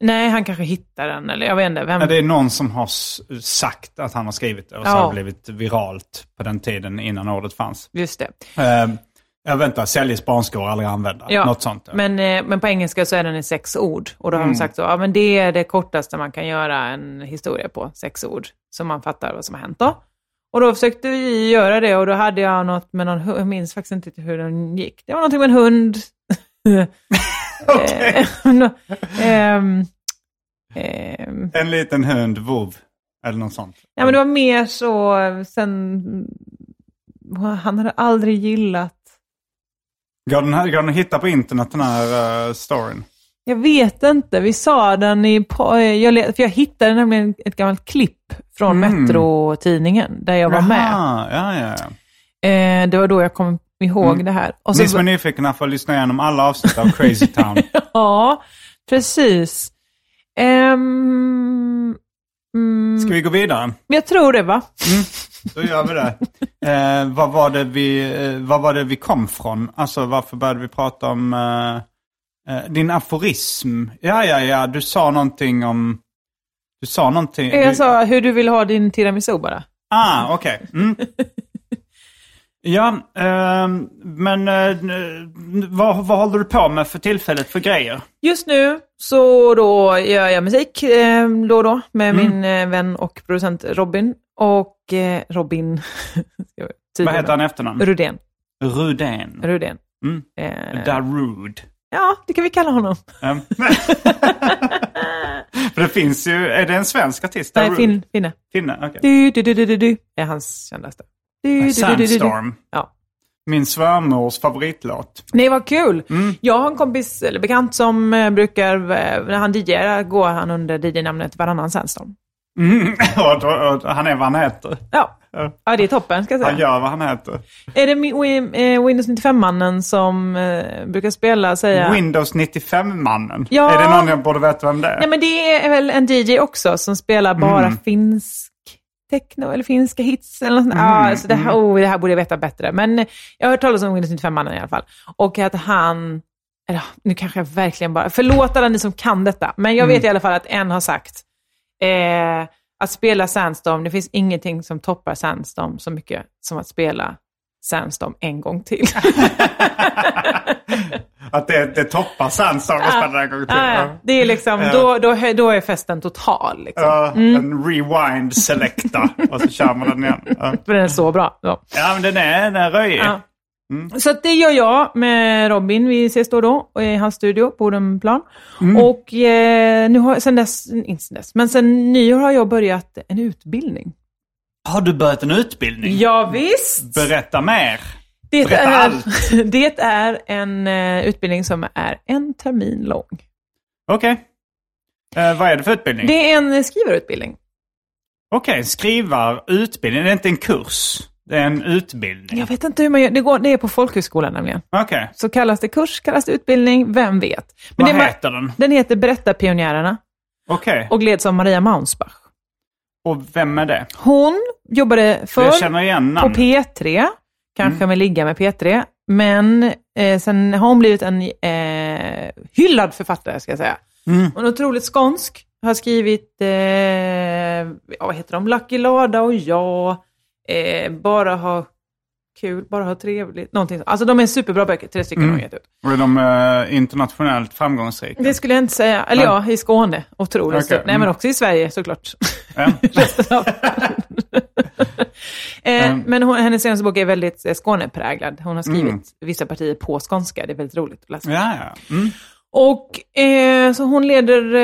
Speaker 3: Nej, han kanske hittar den eller jag vet inte. Vem,
Speaker 2: Ja, det är någon som har s- sagt att han har skrivit det och så
Speaker 3: Ja.
Speaker 2: har det blivit viralt på den tiden innan ordet fanns.
Speaker 3: Just det.
Speaker 2: Eh, jag väntar, säljes barnskor aldrig använda.
Speaker 3: Ja,
Speaker 2: Något sånt. Men,
Speaker 3: Men, eh, men på engelska så är den i sex ord. Och då har de sagt så, ja men det är det kortaste man kan göra en historia på, sex ord. Så man fattar vad som har hänt då. Och då försökte vi göra det och då hade jag något med någon hund, jag minns faktiskt inte hur den gick. Det var någonting med en hund. Eh, (laughs) nå- ehm, ehm,
Speaker 2: en liten hund, vov. Eller något sånt.
Speaker 3: ja, men det var mer så, eh, sen, han hade aldrig gillat
Speaker 2: Går den, här, går den att hitta på internet den här eh, storyn?
Speaker 3: Jag vet inte. Vi sa den i... po- eh, Jag, le- för jag hittade nämligen ett gammalt klipp från
Speaker 2: Mm.
Speaker 3: Metro-tidningen där jag var med.
Speaker 2: Aha, Ja, ja, ja.
Speaker 3: Eh, det var då jag kom ihåg
Speaker 2: Mm.
Speaker 3: det här. Och
Speaker 2: Ni som
Speaker 3: så,
Speaker 2: är nyfikna får lyssna igenom alla avsnitt av
Speaker 3: (laughs)
Speaker 2: Crazy Town.
Speaker 3: ja, precis. Ehm, mm,
Speaker 2: Ska vi gå vidare?
Speaker 3: jag tror det, va?
Speaker 2: Då gör vi det. Eh, vad, var det vi, eh, vad var det vi kom från? Alltså varför började vi prata om eh, eh, din aforism? Ja, ja, ja, du sa någonting om... Du sa någonting... du,
Speaker 3: Jag sa hur du vill ha din tiramisu bara.
Speaker 2: Ah, okej. Mm. Ja, ehm, men eh, n- vad, vad håller du på med för tillfället för grejer?
Speaker 3: Just nu så då gör jag musik eh, då och då med
Speaker 2: Mm.
Speaker 3: min eh, vän och producent Robin. Och eh, Robin... (laughs) ska jag
Speaker 2: Vad
Speaker 3: tydliga
Speaker 2: heter han i
Speaker 3: då?
Speaker 2: efternamn?
Speaker 3: Rudén.
Speaker 2: Rudén.
Speaker 3: Rudén.
Speaker 2: Mm.
Speaker 3: Eh,
Speaker 2: Darud.
Speaker 3: ja, det kan vi kalla honom.
Speaker 2: Ehm. (laughs) för det finns ju, är det en svensk artist?
Speaker 3: Nej,
Speaker 2: Darude?
Speaker 3: fin, Eh, finne.
Speaker 2: Finne, okej.
Speaker 3: Du, du, du, du, du, du, är hans kändaste. Du, du, du, du, du, du.
Speaker 2: Sandstorm.
Speaker 3: Ja.
Speaker 2: Min svärmors favoritlåt. (laughs)
Speaker 3: Nej, vad kul!
Speaker 2: Mm.
Speaker 3: Jag har en kompis, eller bekant, som eh, brukar, eh, när han DJar, går han under DJ-namnet Varannan Sandstorm.
Speaker 2: Mm. och, då- och, han är vad han heter.
Speaker 3: Ja.
Speaker 2: Ja.
Speaker 3: ja, det är toppen ska jag säga.
Speaker 2: Han gör vad han heter.
Speaker 3: Är det min- Win- eh, Windows 95-mannen som eh, brukar spela, säga...
Speaker 2: Windows 95-mannen.
Speaker 3: Ja.
Speaker 2: Är det någon jag borde veta vem det är?
Speaker 3: Nej, men det är väl en DJ också som spelar bara finsk techno eller finska hits eller något sånt. Ja, så det, här, oh, det här borde jag veta bättre. Men jag har hört talas om Windows 95-mannen i alla fall. Och att han, eller, nu kanske jag verkligen bara, förlåt alla ni som kan detta, men jag vet i alla fall att en har sagt, eh, att spela Sandstorm, det finns ingenting som toppar Sandstorm så mycket som att spela Sandstorm en gång till.
Speaker 2: Att det, det toppar Sandstorm att spela den en gång till.
Speaker 3: Ah, (laughs) ja. (laughs) det är liksom, då, då, då är festen total. Liksom.
Speaker 2: Ja, En rewind
Speaker 3: (laughs)
Speaker 2: selecta och så kör man den igen. Ja,
Speaker 3: För den är så bra. Ja.
Speaker 2: ja men den är, den är röjig.
Speaker 3: Ja. Så att det gör jag med Robin. Vi ses då och då i hans studio på Odenplan. Och eh, nu har, sen dess, inte sen dess, men sen nyår har jag börjat en utbildning.
Speaker 2: Har du börjat en utbildning?
Speaker 3: Ja, visst.
Speaker 2: Berätta mer.
Speaker 3: Det
Speaker 2: berätta
Speaker 3: är,
Speaker 2: allt.
Speaker 3: (laughs) det är en eh, utbildning som är en termin lång.
Speaker 2: Okej. Eh, vad är det för utbildning?
Speaker 3: Det är en eh, skrivarutbildning.
Speaker 2: Okej, skrivarutbildning. Det är inte en kurs. Det är en utbildning.
Speaker 3: Jag vet inte hur man gör. Det, går, det är på folkhögskolan nämligen.
Speaker 2: Okej.
Speaker 3: Så kallas det kurs, kallas det utbildning, vem vet.
Speaker 2: Vad
Speaker 3: det, är ma-
Speaker 2: heter den?
Speaker 3: Den heter Berätta pionjärerna
Speaker 2: Okej.
Speaker 3: och leds av Maria Maunsbach.
Speaker 2: Och vem är det?
Speaker 3: Hon jobbade
Speaker 2: Jag
Speaker 3: förr
Speaker 2: känner igen
Speaker 3: på
Speaker 2: namn.
Speaker 3: P3, kanske med ligga med P3, men eh, sen har hon blivit en eh, hyllad författare, ska jag säga. Hon är otroligt skånsk. Har skrivit, eh, ja, vad heter de, Lucky Lada och jag. Eh, bara ha kul, bara ha trevligt. Någonting. så. Alltså de är superbra böcker, tre stycken har hon gett ut.
Speaker 2: Och är de eh, internationellt framgångsrika?
Speaker 3: Det skulle jag inte säga. Eller ja, i Skåne. Otroligt
Speaker 2: Okej,
Speaker 3: stort. Nej,
Speaker 2: mm.
Speaker 3: men också i Sverige såklart.
Speaker 2: Ja.
Speaker 3: (laughs) Resten av världen. eh,
Speaker 2: Mm.
Speaker 3: Men hon, hennes senaste bok är väldigt eh, Skånepräglad. Hon har skrivit
Speaker 2: Mm.
Speaker 3: vissa partier på skånska. Det är väldigt roligt att läsa.
Speaker 2: Ja, ja. Mm.
Speaker 3: Och eh, så hon leder,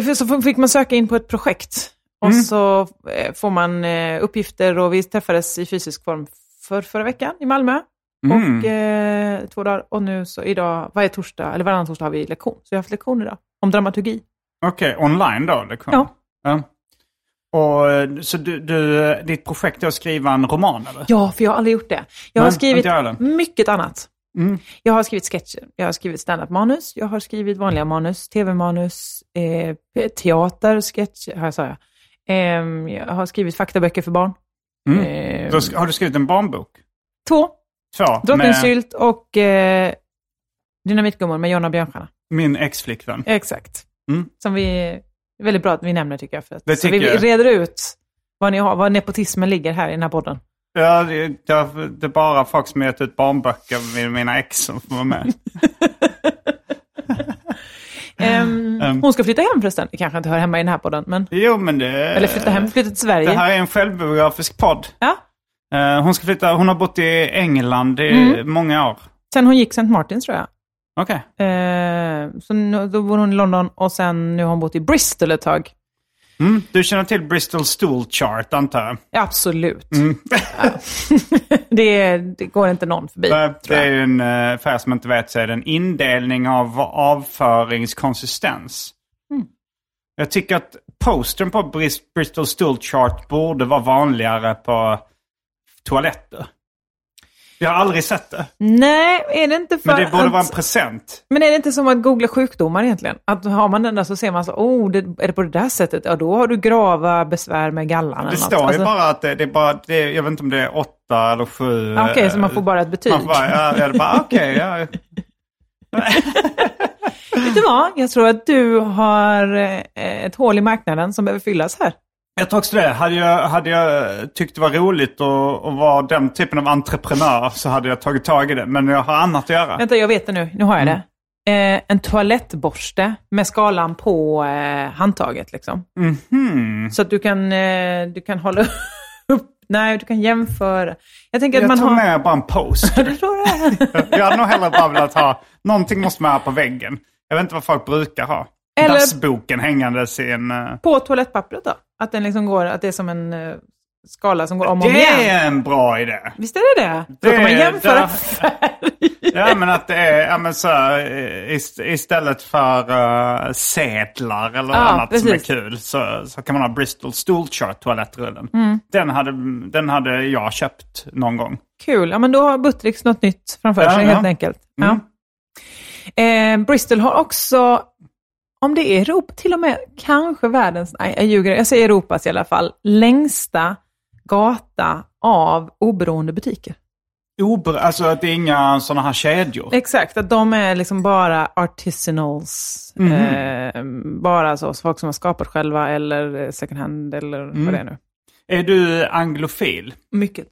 Speaker 3: eh, så fick man söka in på ett projekt. Och
Speaker 2: Mm.
Speaker 3: så eh, får man eh, uppgifter och vi träffades i fysisk form för, förra veckan i Malmö.
Speaker 2: Mm.
Speaker 3: Och eh, två dagar. Och nu så idag, varje torsdag, eller varannan torsdag har vi lektion. Så jag har haft lektion idag. Om dramaturgi.
Speaker 2: Okej, online då? Lektion.
Speaker 3: Ja.
Speaker 2: ja. Och, eh, så du, du, ditt projekt är att skriva en roman eller?
Speaker 3: Ja, för jag har aldrig gjort det. Jag har
Speaker 2: Nej,
Speaker 3: skrivit
Speaker 2: inte jag heller.
Speaker 3: mycket annat.
Speaker 2: Mm.
Speaker 3: Jag har skrivit sketcher, jag har skrivit standup-manus, jag har skrivit vanliga manus, tv-manus, eh, p- teater, sketch, här sa jag. Ehm, jag har skrivit faktaböcker för barn.
Speaker 2: Mm.
Speaker 3: Ehm,
Speaker 2: Då sk- har du skrivit en barnbok?
Speaker 3: två,
Speaker 2: Två.
Speaker 3: Drottningens
Speaker 2: med
Speaker 3: sylt och eh, Dynamitgummor med Jonna Björnstjärna.
Speaker 2: min ex-flickvän.
Speaker 3: Eh. Exakt.
Speaker 2: Mm.
Speaker 3: Som vi, det är väldigt bra att vi nämner tycker jag. För att,
Speaker 2: Det
Speaker 3: så
Speaker 2: tycker
Speaker 3: vi
Speaker 2: jag.
Speaker 3: reder ut vad ni har, vad nepotismen ligger här i den här podden.
Speaker 2: Ja, det, det, det är bara folk som gett ut barnböcker med mina ex som får vara med.
Speaker 3: Ehm,
Speaker 2: Ehm.
Speaker 3: Hon ska flytta hem förresten. Det kanske inte hör hemma i den här podden, men...
Speaker 2: Jo, men det...
Speaker 3: Eller flytta hem, flytta till
Speaker 2: Eh, Det
Speaker 3: Sverige.
Speaker 2: här är en självbiografisk podd.
Speaker 3: Ja.
Speaker 2: Eh, Hon ska flytta, hon har bott i England i
Speaker 3: Mm.
Speaker 2: många år.
Speaker 3: Sen hon gick St. Martins tror jag.
Speaker 2: Okej.
Speaker 3: Eh, så nu, då bor hon i London och sen nu har hon bott i Bristol ett tag.
Speaker 2: Mm. Du känner till Bristol Stool Chart, antar jag?
Speaker 3: Ja, absolut.
Speaker 2: Mm.
Speaker 3: Ja. (laughs) det, det går inte någon förbi.
Speaker 2: Det, det är ju en, eh, för er som inte vet så är det en indelning av avföringskonsistens.
Speaker 3: Mm.
Speaker 2: Jag tycker att postern på Bris- Bristol Stool Chart borde vara vanligare på toaletter. Jag har aldrig sett det.
Speaker 3: Nej, är det inte för
Speaker 2: Men det borde
Speaker 3: att,
Speaker 2: vara en present.
Speaker 3: Men är det inte som att googla sjukdomar egentligen? Att har man den där så ser man så, oh, det, är det på det där sättet? Ja, då har du grava besvär med gallan
Speaker 2: Det
Speaker 3: eller
Speaker 2: står ju
Speaker 3: något. Alltså,
Speaker 2: bara att det, det är bara, det, är- jag vet inte om det är åtta eller sju.
Speaker 3: Ah, Okej,
Speaker 2: eh,
Speaker 3: så man får bara ett betyg.
Speaker 2: Man får bara, ja, ja, det är bara ah, okej. ja.
Speaker 3: Vet du vad? Jag tror att du har eh, ett hål i marknaden som behöver fyllas här.
Speaker 2: (laughs) Jag tror också det. Hade jag, hade jag tyckt det var roligt att, att vara den typen av entreprenör så hade jag tagit tag i det. Men jag har annat att göra.
Speaker 3: Vänta, jag vet det nu. Nu har jag
Speaker 2: Mm.
Speaker 3: det. Eh, en toalettborste med skalan på eh, handtaget. Liksom.
Speaker 2: Mhm.
Speaker 3: Så att du kan, eh, du kan hålla upp... (laughs) Nej, du kan jämföra. Jag tänker att
Speaker 2: Jag
Speaker 3: man
Speaker 2: tar
Speaker 3: har...
Speaker 2: med bara en
Speaker 3: (laughs)
Speaker 2: poster.
Speaker 3: Du tror det?
Speaker 2: jag hade nog hellre bara velat ha... Någonting måste man ha på väggen. Jag vet inte vad folk brukar ha.
Speaker 3: Eller-
Speaker 2: Dassboken hängandes i en... eh,
Speaker 3: på toalettpappret då? Att, den liksom går, att det är som en eh, skala som går om och om
Speaker 2: Det
Speaker 3: igen.
Speaker 2: är en bra idé.
Speaker 3: Visst är det det?
Speaker 2: Det
Speaker 3: Då kan man
Speaker 2: är-
Speaker 3: jämföra
Speaker 2: där-
Speaker 3: färg.
Speaker 2: Ja, men att det är ja, men så, här, eh, ist- istället för eh, sedlar eller
Speaker 3: Ja,
Speaker 2: annat
Speaker 3: precis.
Speaker 2: som är kul så, så kan man ha Bristol Stool Chart toalettrullen.
Speaker 3: Mm.
Speaker 2: Den, hade, den hade jag köpt någon gång.
Speaker 3: Kul. Ja, men då har Buttricks något nytt framför
Speaker 2: Ja,
Speaker 3: sig
Speaker 2: ja. Mm.
Speaker 3: helt enkelt. Ja. Eh, Bristol har också, om det är Europa, till och med kanske världens, nej jag ljuger, jag säger Europas i alla fall, längsta gata av oberoende butiker.
Speaker 2: Ober, alltså att det är inga sådana här kedjor.
Speaker 3: Exakt, att de är liksom bara artisanals.
Speaker 2: Mhm.
Speaker 3: Eh, bara så, så folk som har skapat själva eller eh, second hand eller
Speaker 2: Mm.
Speaker 3: vad det är nu.
Speaker 2: Är du anglofil?
Speaker 3: Mycket.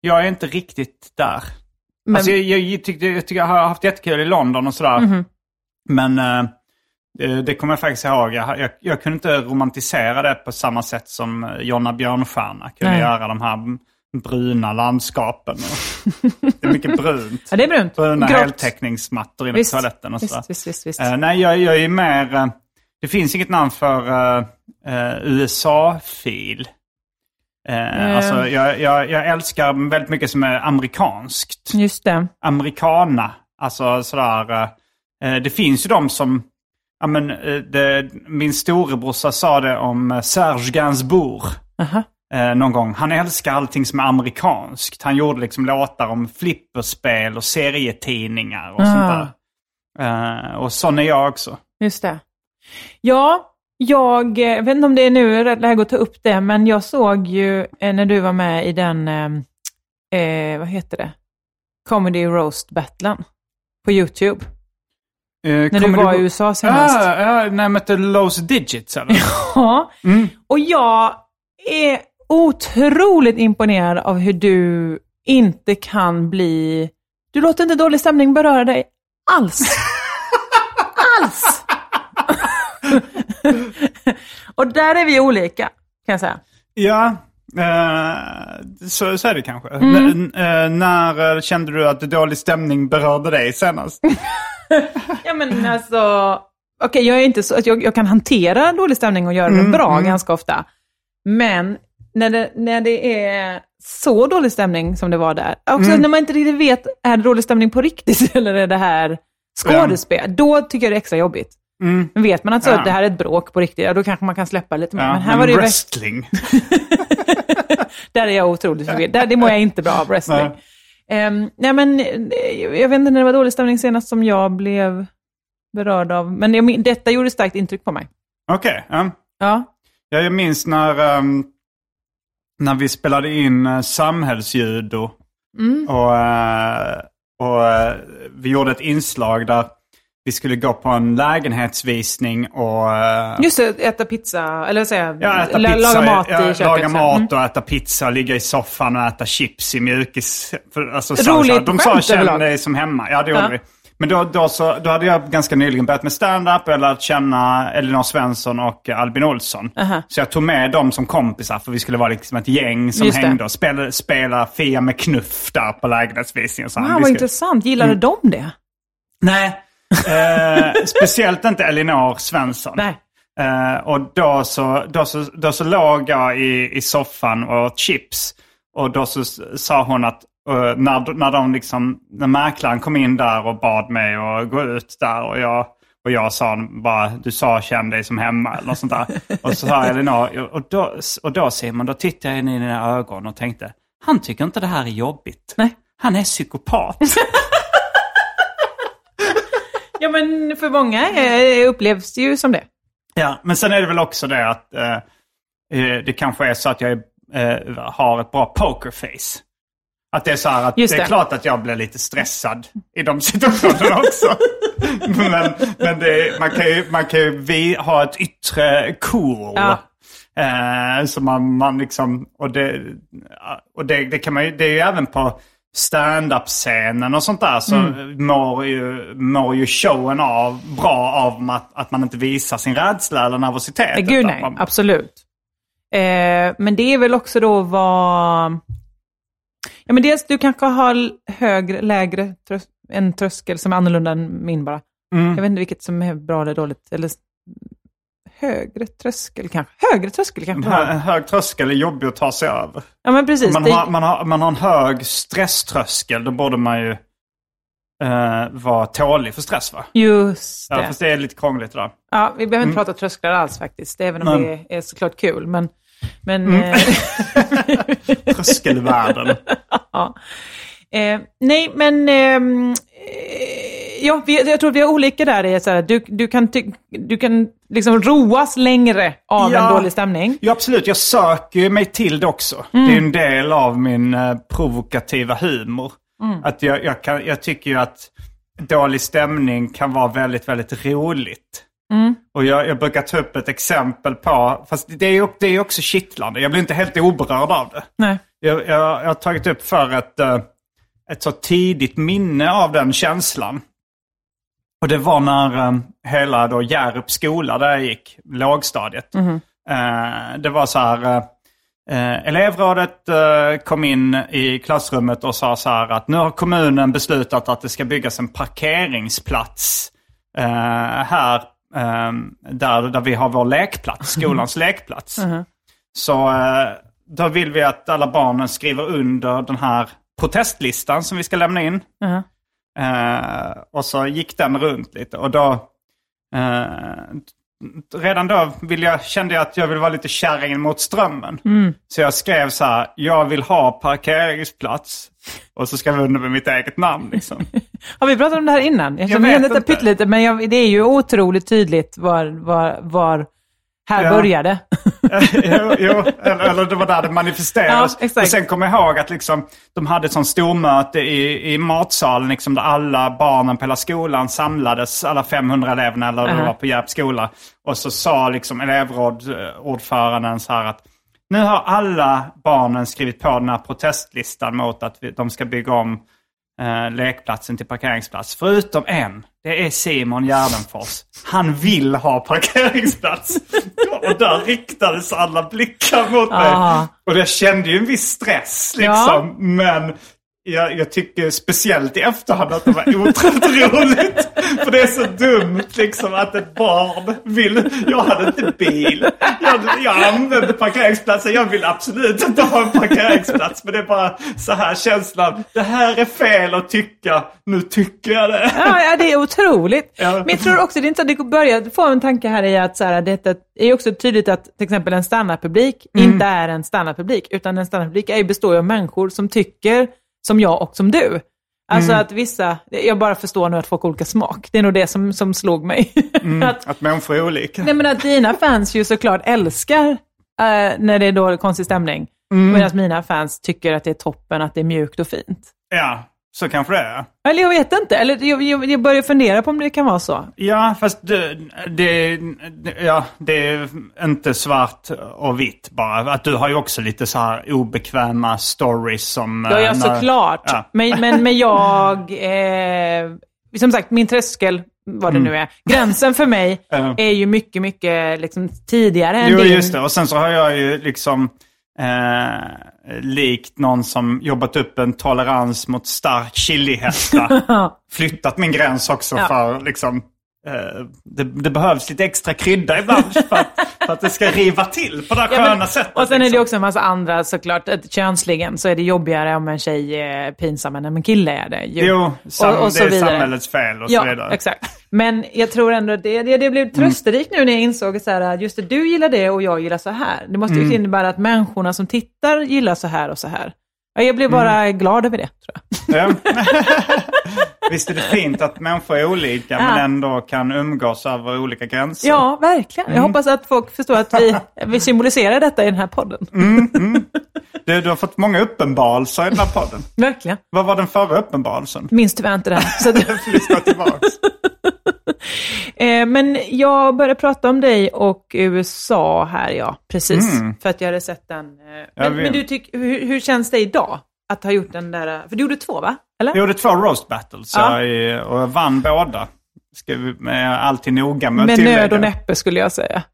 Speaker 2: Jag är inte riktigt där.
Speaker 3: Men,
Speaker 2: Alltså, jag, jag, tyckte, jag tycker jag har haft jättekul i London och sådär.
Speaker 3: Mhm.
Speaker 2: Men eh, eh, det kommer jag faktiskt ihåg. Jag, jag, jag kunde inte romantisera det på samma sätt som eh, Jonna Björnstjärna kunde
Speaker 3: Nej.
Speaker 2: göra. De här m- bruna landskapen. Och,
Speaker 3: (laughs)
Speaker 2: det är mycket brunt.
Speaker 3: ja, det är brunt.
Speaker 2: Bruna
Speaker 3: Grått.
Speaker 2: heltäckningsmattor inne på
Speaker 3: Visst,
Speaker 2: toaletten och sådär.
Speaker 3: Visst, visst, visst. visst.
Speaker 2: Eh, nej, jag, jag är mer... eh, det finns inget namn för eh, eh, USA-fil. Eh,
Speaker 3: Eh.
Speaker 2: Alltså, jag, jag, jag älskar väldigt mycket som är amerikanskt
Speaker 3: Just det.
Speaker 2: americana. Alltså sådär, eh, det finns ju de som, ja men eh, det, min storebrorsa sa det om eh, Serge Gainsbourg. Eh, någon gång. Han älskar allting som är amerikanskt. Han gjorde liksom låtar om flipperspel och serietidningar och
Speaker 3: Ah.
Speaker 2: sånt där. Eh, och sån är jag också.
Speaker 3: Just det. Ja, jag eh, vet inte om det är nu rätt läge att ta upp det, men jag såg ju eh, när du var med i den, eh, eh, vad heter det, Comedy Roast Battlen på YouTube. När du var i USA senast.
Speaker 2: Ja, ja, när jag mötte Lowe's Digits eller?
Speaker 3: Ja. Och jag är otroligt imponerad av hur du inte kan bli... Du låter inte dålig stämning beröra dig alls. alls! (laughs) och där är vi olika, kan jag säga.
Speaker 2: ja, eh, så, så är det kanske.
Speaker 3: Mm.
Speaker 2: N- eh, när eh, kände du att dålig stämning berörde dig
Speaker 3: (laughs)
Speaker 2: senast?
Speaker 3: Ja, men alltså... Okej, jag är inte så... att Jag, jag kan hantera dålig stämning och göra
Speaker 2: Mm,
Speaker 3: det bra ganska ofta. Men när det, när det är så dålig stämning som det var där, också
Speaker 2: Mm.
Speaker 3: när man inte riktigt vet, är det dålig stämning på riktigt (laughs) eller är det här skådespel? Då tycker jag det är extra jobbigt. Men Vet man att, så,
Speaker 2: Mm. Ja.
Speaker 3: att det här är ett bråk på riktigt, ja, då kanske man kan släppa lite mer.
Speaker 2: Ja,
Speaker 3: men här var det ju värst-
Speaker 2: wrestling.
Speaker 3: där är jag otroligt förvirrad. Där, det mår jag inte bra av wrestling.
Speaker 2: Nej.
Speaker 3: Ehm, nej, men, eh, jag vet inte när det var dålig stämning senast som jag blev berörd av. Men jag, min- detta gjorde starkt intryck på mig.
Speaker 2: Okej, ja.
Speaker 3: Ja.
Speaker 2: Ja, jag minns när, ehm, när vi spelade in uh, samhällsjudo.
Speaker 3: Mm.
Speaker 2: Och, eh, och eh, vi gjorde ett inslag där vi skulle gå på en lägenhetsvisning och eh,
Speaker 3: Just det, äta pizza, eller vad säger jag?
Speaker 2: ja, äta
Speaker 3: La-
Speaker 2: pizza,
Speaker 3: laga mat
Speaker 2: ja,
Speaker 3: i köket.
Speaker 2: laga
Speaker 3: så.
Speaker 2: mat
Speaker 3: Mm.
Speaker 2: och äta pizza, ligga i soffan och äta chips i mjukis. För, alltså,
Speaker 3: Roligt
Speaker 2: så, de sa
Speaker 3: skämt
Speaker 2: känn
Speaker 3: överlag."
Speaker 2: dig som hemma. Ja, det gjorde
Speaker 3: Ja.
Speaker 2: vi. Men då, då, så, då hade jag ganska nyligen börjat med stand-up. Jag hade lärt känna Elinor Svensson och Albin Olsson. Så jag tog med dem som kompisar för vi skulle vara liksom ett gäng som
Speaker 3: Just det.
Speaker 2: hängde och spelade, spelade Fia med knuff där på lägenhetsvisningen. Så han,
Speaker 3: Wow,
Speaker 2: vi
Speaker 3: Ah, vad
Speaker 2: skulle-
Speaker 3: intressant. Gillade
Speaker 2: Mm.
Speaker 3: de det?
Speaker 2: Nej. Eh, speciellt inte Elinor Svensson.
Speaker 3: Nej.
Speaker 2: Eh, och då så, då, så, då så låg jag i, i soffan och åt chips. Och då så s- sa hon att eh, när, när, de liksom, när mäklaren kom in där och bad mig att gå ut där och jag, och jag sa bara du sa känn dig som hemma eller något sånt där. Och så sa Elinor, och då, och då Simon, då tittade jag in i dina ögon och tänkte han tycker inte det här är jobbigt.
Speaker 3: Nej.
Speaker 2: Han är psykopat.
Speaker 3: Ja, men för många eh, upplevs det ju som det.
Speaker 2: Ja, men sen är det väl också det att eh, eh, det kanske är så att jag är, eh, har ett bra pokerface. Att det är så här att
Speaker 3: Just
Speaker 2: det är
Speaker 3: det.
Speaker 2: klart att jag blir lite stressad i de (laughs) situationerna också. men men det, är- man kan ju, man kan ju vi, ha ett yttre cool.
Speaker 3: Ja.
Speaker 2: Eh, så man, man liksom, och det, eh, och det, det, kan man ju, det är ju även på stand-up-scenen och sånt där så
Speaker 3: Mm.
Speaker 2: mår, ju, mår ju showen av, bra av att, att man inte visar sin rädsla eller nervositet.
Speaker 3: Nej, Äh, Eh, Gud
Speaker 2: utan
Speaker 3: nej,
Speaker 2: man,
Speaker 3: absolut. Eh, men det är väl också då vad... Ja, men dels du kanske har högre, lägre trös en tröskel som är annorlunda än min bara.
Speaker 2: Mm.
Speaker 3: Jag vet inte vilket som är bra eller dåligt. Eller s- högre tröskel kanske. Högre tröskel kanske.
Speaker 2: hö- en hög tröskel är jobbig att ta sig över.
Speaker 3: Ja, men precis.
Speaker 2: Man
Speaker 3: det,
Speaker 2: har, man, har, man har en hög stresströskel, då borde man ju eh, vara tålig för stress va?
Speaker 3: just det.
Speaker 2: Ja,
Speaker 3: Ja,
Speaker 2: fast det är lite krångligt idag.
Speaker 3: vi behöver inte prata trösklar alls faktiskt, även om
Speaker 2: Men- Mm.
Speaker 3: det är såklart kul. Men, men eh,
Speaker 2: Tröskelvärlden.
Speaker 3: Ja. Eh, nej, men ehm, eh, ja, vi, jag tror vi är olika där. i att Så här, du, du kan, ty, du kan liksom roas längre av
Speaker 2: Ja.
Speaker 3: en dålig stämning.
Speaker 2: Ja, absolut. Jag söker ju mig till det också. Det är ju en del av min eh, provokativa humor. Att jag, jag, kan, jag tycker ju att dålig stämning kan vara väldigt, väldigt roligt. Och jag, jag brukar ta upp ett exempel på, fast det är ju det är ju också kittlande. Jag blir inte helt oberörd av det.
Speaker 3: Nej.
Speaker 2: Jag, jag, jag har tagit upp för ett, eh, ett så tidigt minne av den känslan. Och det var när eh, hela då Hjärups skola där jag gick, lågstadiet. Eh, Det var så här, eh, eh, elevrådet eh, kom in i klassrummet och sa så här att nu har kommunen beslutat att det ska byggas en parkeringsplats eh, här eh, där, där vi har vår lekplats, skolans lekplats. Så eh, då vill vi att alla barnen skriver under den här protestlistan som vi ska lämna in. Eh, och så gick den runt lite och då... Eh, redan då vill jag, kände jag att jag vill vara lite kärringen mot strömmen. Så jag skrev så här, jag vill ha parkeringsplats. Och så skrev jag under med mitt eget namn liksom.
Speaker 3: Har vi pratat om det här innan? Jag känner
Speaker 2: vet
Speaker 3: igen detta
Speaker 2: inte.
Speaker 3: pyttelite, men jag, det är ju otroligt tydligt var, var, var Här
Speaker 2: Ja.
Speaker 3: började.
Speaker 2: jo, jo eller, eller det var där det manifesteras.
Speaker 3: Ja, exakt.
Speaker 2: och sen kommer jag ihåg att liksom, de hade ett sånt stormöte i, i matsalen liksom, där alla barnen på hela skolan samlades, alla 500 eleverna eller vad det
Speaker 3: Aha.
Speaker 2: var på Järps skola. Och så sa liksom, elevrådsordföranden så här att nu har alla barnen skrivit på den här protestlistan mot att vi, de ska bygga om eh, lekplatsen till parkeringsplats. Förutom en. Det är Simon Gärdenfors. Han vill ha parkeringsplats. och där riktades alla blickar mot mig.
Speaker 3: Ah.
Speaker 2: Och jag kände ju en viss stress liksom.
Speaker 3: Ja.
Speaker 2: Men jag, jag tycker speciellt i efterhand att det var otroligt (laughs) roligt. För det är så dumt liksom att ett barn vill... Jag hade inte bil. Jag, jag använde parkeringsplatsen. Jag vill absolut inte ha en parkeringsplats. Men det är bara så här känslan. Det här är fel att tycka. Nu tycker jag det.
Speaker 3: Ja, ja, det är otroligt.
Speaker 2: Ja.
Speaker 3: Men jag tror också det är inte att det börjar få en tanke här i att så här, detta är ju också tydligt att till exempel en standardpublik inte är en standardpublik, utan en standardpublik är- består ju av människor som tycker som jag och som du. Alltså att vissa, jag bara förstår nu att folk har olika smak. Det är nog det som, som slog mig. (laughs) att,
Speaker 2: Att människor är olika.
Speaker 3: nej men att dina fans ju såklart älskar eh, när det är då konstig stämning. Medan mina fans tycker att det är toppen, att det är mjukt och fint.
Speaker 2: Ja, så kanske det är.
Speaker 3: Eller jag vet inte, eller jag, jag, jag börjar fundera på om det kan vara så.
Speaker 2: Ja, fast det, det, ja, det är inte svart och vitt bara. Att du har ju också lite så här obekväma stories som...
Speaker 3: Ja,
Speaker 2: eh,
Speaker 3: ja
Speaker 2: när-
Speaker 3: såklart.
Speaker 2: Ja.
Speaker 3: Men, men, men jag... Eh, som sagt, min tröskel, vad det nu är, gränsen för mig
Speaker 2: Mm. (laughs) Ja.
Speaker 3: är ju mycket, mycket liksom, tidigare än
Speaker 2: Jo,
Speaker 3: din.
Speaker 2: just det. Och sen så har jag ju liksom eh, likt någon som jobbat upp en tolerans mot stark
Speaker 3: (laughs)
Speaker 2: chilihästa flyttat min gräns också
Speaker 3: Ja.
Speaker 2: för liksom eh, det, det behövs lite extra krydda
Speaker 3: (laughs)
Speaker 2: ibland för att, för att det ska riva till på det här
Speaker 3: Ja, men-
Speaker 2: sköna sättet.
Speaker 3: Och sen är det
Speaker 2: liksom.
Speaker 3: ju också en massa andra såklart. Att könsligen så är det jobbigare om en tjej är pinsam än om en kille är det. Ju.
Speaker 2: Jo, sam-
Speaker 3: och så
Speaker 2: det är
Speaker 3: vidare.
Speaker 2: samhällets fel och så
Speaker 3: Ja,
Speaker 2: vidare.
Speaker 3: exakt. Men jag tror ändå att det, det, det
Speaker 2: Mm.
Speaker 3: blev trösterikt nu när jag insåg så här, att just det, du gillar det och jag gillar så här. Det måste ju
Speaker 2: Mm.
Speaker 3: innebära att människorna som tittar gillar så här och så här. Ja, Jag blev bara
Speaker 2: Mm.
Speaker 3: glad över det, tror jag.
Speaker 2: Ja.
Speaker 3: (laughs)
Speaker 2: Visst är det fint att människor är olika men
Speaker 3: Ja.
Speaker 2: ändå kan umgås över olika gränser.
Speaker 3: Ja, verkligen.
Speaker 2: Mm.
Speaker 3: Jag hoppas att folk förstår att
Speaker 2: (laughs)
Speaker 3: vi, vi symboliserar detta i den här podden.
Speaker 2: Mm. Du, du har fått många uppenbarelser i den här
Speaker 3: (laughs)
Speaker 2: podden.
Speaker 3: Verkligen.
Speaker 2: Vad var den förra uppenbarelsen?
Speaker 3: Minns tyvärr inte det
Speaker 2: (laughs)
Speaker 3: här. Så att,
Speaker 2: Lyssna (laughs) tillbaks.
Speaker 3: eh, men jag började prata om dig och USA här, ja. Precis.
Speaker 2: Mm.
Speaker 3: För att jag hade sett den. eh,
Speaker 2: Jag
Speaker 3: Men,
Speaker 2: vet.
Speaker 3: men du tyck, hur, hur känns det idag? Att ha gjort den där... eh, För du gjorde två, va? Eller?
Speaker 2: Jag gjorde två roast battles
Speaker 3: Ja.
Speaker 2: jag, eh, och jag vann båda. Ska vi, men jag är alltid noga med att
Speaker 3: Med
Speaker 2: tillägga.
Speaker 3: nöd och näppe skulle jag säga.
Speaker 2: Eh,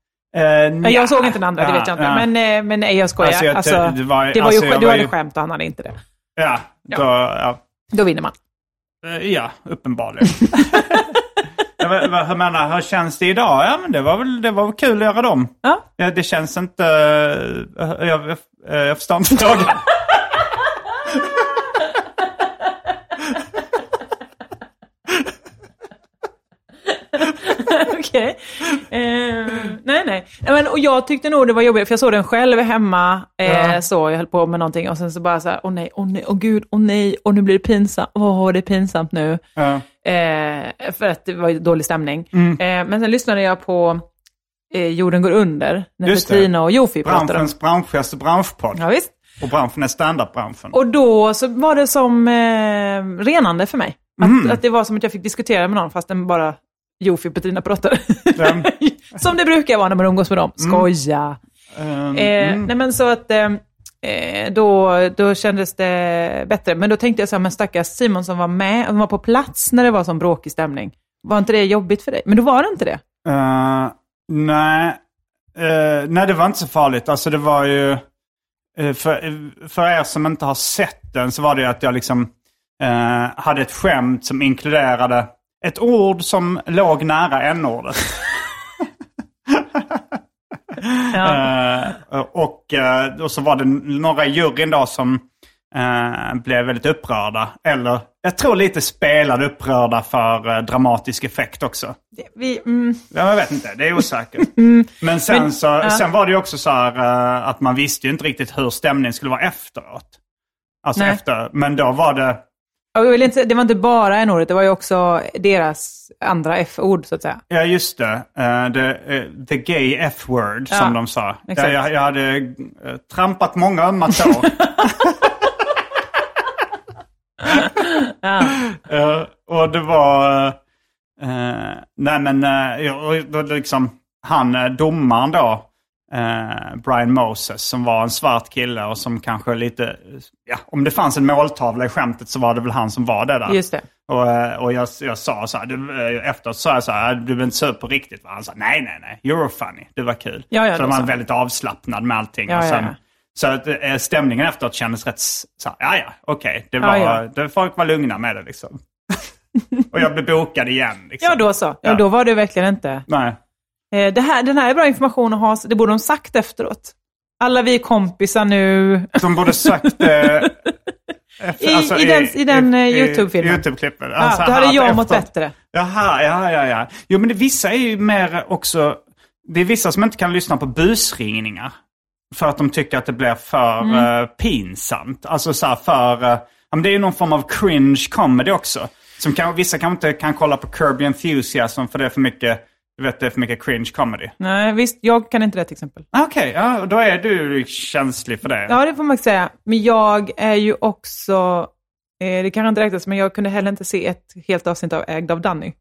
Speaker 3: Men
Speaker 2: nja.
Speaker 3: jag såg inte den andra, det
Speaker 2: Ja,
Speaker 3: vet jag inte.
Speaker 2: ja.
Speaker 3: Men, eh, men nej, jag skojar.
Speaker 2: Alltså,
Speaker 3: Alltså,
Speaker 2: jag-
Speaker 3: det var, ju
Speaker 2: alltså, jag
Speaker 3: skämt, du
Speaker 2: var
Speaker 3: hade
Speaker 2: ju-
Speaker 3: skämt och han hade inte det.
Speaker 2: Ja, då, ja.
Speaker 3: Då vinner man.
Speaker 2: Eh, Ja,
Speaker 3: (laughs)
Speaker 2: uppenbarligen. ja, vad, vad, jag menar, hur känns det idag? Ja, men det var väl, det var väl kul att göra dem.
Speaker 3: Ja.
Speaker 2: Ja, det känns inte... eh, Jag, jag, jag förstår inte
Speaker 3: (laughs)
Speaker 2: frågan.
Speaker 3: (laughs) Okej. Eh, nej, nej. Ja, Men, och jag tyckte nog det var jobbigt, för jag såg den själv hemma. Eh,
Speaker 2: Ja.
Speaker 3: så, jag höll på med någonting och sen så bara så här, åh nej, åh nej, åh gud, åh nej, åh nu blir det pinsamt, åh det är pinsamt nu.
Speaker 2: Ja.
Speaker 3: Eh, för att det var ju dålig stämning.
Speaker 2: Mm.
Speaker 3: Eh, men sen lyssnade jag på eh, Jorden går under, när
Speaker 2: Just det.
Speaker 3: Petrina och Jofi pratade om.
Speaker 2: Branschens branschigaste branschpodd.
Speaker 3: Ja, visst.
Speaker 2: Och branschen är standardbranschen.
Speaker 3: Och då så var det som eh, renande för mig. Att, att det var som att jag fick diskutera med någon fastän bara Jofi och Petrina pratade.
Speaker 2: Den,
Speaker 3: (laughs) som det brukar vara när man umgås med dem. Skoja!
Speaker 2: ehm,
Speaker 3: Eh, Nej men så att eh, eh, då, då kändes det bättre. Men då tänkte jag så här, men stackars Simon som var med, som var på plats när det var som bråkig stämning. Var inte det jobbigt för dig? Men då var det inte det.
Speaker 2: eh, nej, Eh, nej, det var inte så farligt. Alltså det var ju... eh, för, för er som inte har sett den så var det ju att jag liksom eh, hade ett skämt som inkluderade ett ord som låg nära n-ordet. Eh, och, eh, och så var det några i juryn då som eh, blev väldigt upprörda. Eller jag tror lite spelade upprörda för eh, dramatisk effekt också.
Speaker 3: Det- Vi, mm,
Speaker 2: Ja, Jag vet inte, det är osäkert.
Speaker 3: (laughs)
Speaker 2: Men, sen,
Speaker 3: Men-
Speaker 2: så, sen var det ju också så här eh, att man visste ju inte riktigt hur stämningen skulle vara efteråt. Alltså
Speaker 3: Nej.
Speaker 2: efter, men då var det
Speaker 3: Jag vill inte, säga- det var inte bara en ordet det var ju också deras andra F-ord så att säga.
Speaker 2: Ja, just det. Eh, det, eh, the gay F-word,
Speaker 3: Ja,
Speaker 2: som de sa.
Speaker 3: exakt.
Speaker 2: Ja, Jag, jag hade eh, trampat många ömma
Speaker 3: (laughs)
Speaker 2: tår. Eh, och det var... eh, nej, men eh, ja, och då liksom, han eh, domaren då, eh, Brian Moses, som var en svart kille och som kanske lite... Ja, om det fanns en måltavla i skämtet så var det väl han som var det där.
Speaker 3: Just det.
Speaker 2: Och, eh, och jag, jag sa så här, du, eh, efteråt sa jag så här, du blev inte sur på riktigt va? Han sa, nej nej nej, you were funny, det var kul.
Speaker 3: Ja, ja,
Speaker 2: så
Speaker 3: det
Speaker 2: de var
Speaker 3: sa han.
Speaker 2: väldigt avslappnad med allting.
Speaker 3: Ja,
Speaker 2: och
Speaker 3: ja,
Speaker 2: sen,
Speaker 3: ja.
Speaker 2: Så att, eh, stämningen efteråt kändes rätt, s- så här, ja ja, okej, det
Speaker 3: Ja,
Speaker 2: var,
Speaker 3: ja.
Speaker 2: Det, folk var lugna med det liksom. och jag blev bokad igen. Liksom.
Speaker 3: Ja, då så. Ja,
Speaker 2: Ja.
Speaker 3: Då var det verkligen inte.
Speaker 2: Nej.
Speaker 3: Eh, Det här, den här är bra information att ha, så det borde de sagt efteråt. Alla vi är kompisar nu. (laughs)
Speaker 2: De borde sökt... Eh,
Speaker 3: I-
Speaker 2: alltså,
Speaker 3: i den- i den, eh, YouTube-filmen.
Speaker 2: YouTube-klippen.
Speaker 3: Ja, då hade jag mått bättre.
Speaker 2: Jaha, ja, ja, ja. Jo, men det, vissa är ju mer också... Det är vissa som inte kan lyssna på busringningar. För att de tycker att det blir för
Speaker 3: Mm.
Speaker 2: eh, pinsamt. Alltså så här för... eh, ja, men det är ju någon form av cringe comedy också. Som kan, vissa kanske inte kan kolla på Kirby Enthusiasm för det är för mycket... Du vet, det är för mycket cringe comedy.
Speaker 3: Nej, visst, jag kan inte det till exempel.
Speaker 2: Ah, Okej, ja, då är du känslig för det.
Speaker 3: Ja, det får man säga. Men jag är ju också, eh, det kanske inte räknas, men jag kunde heller inte se ett helt avsnitt av Ägd av Danny.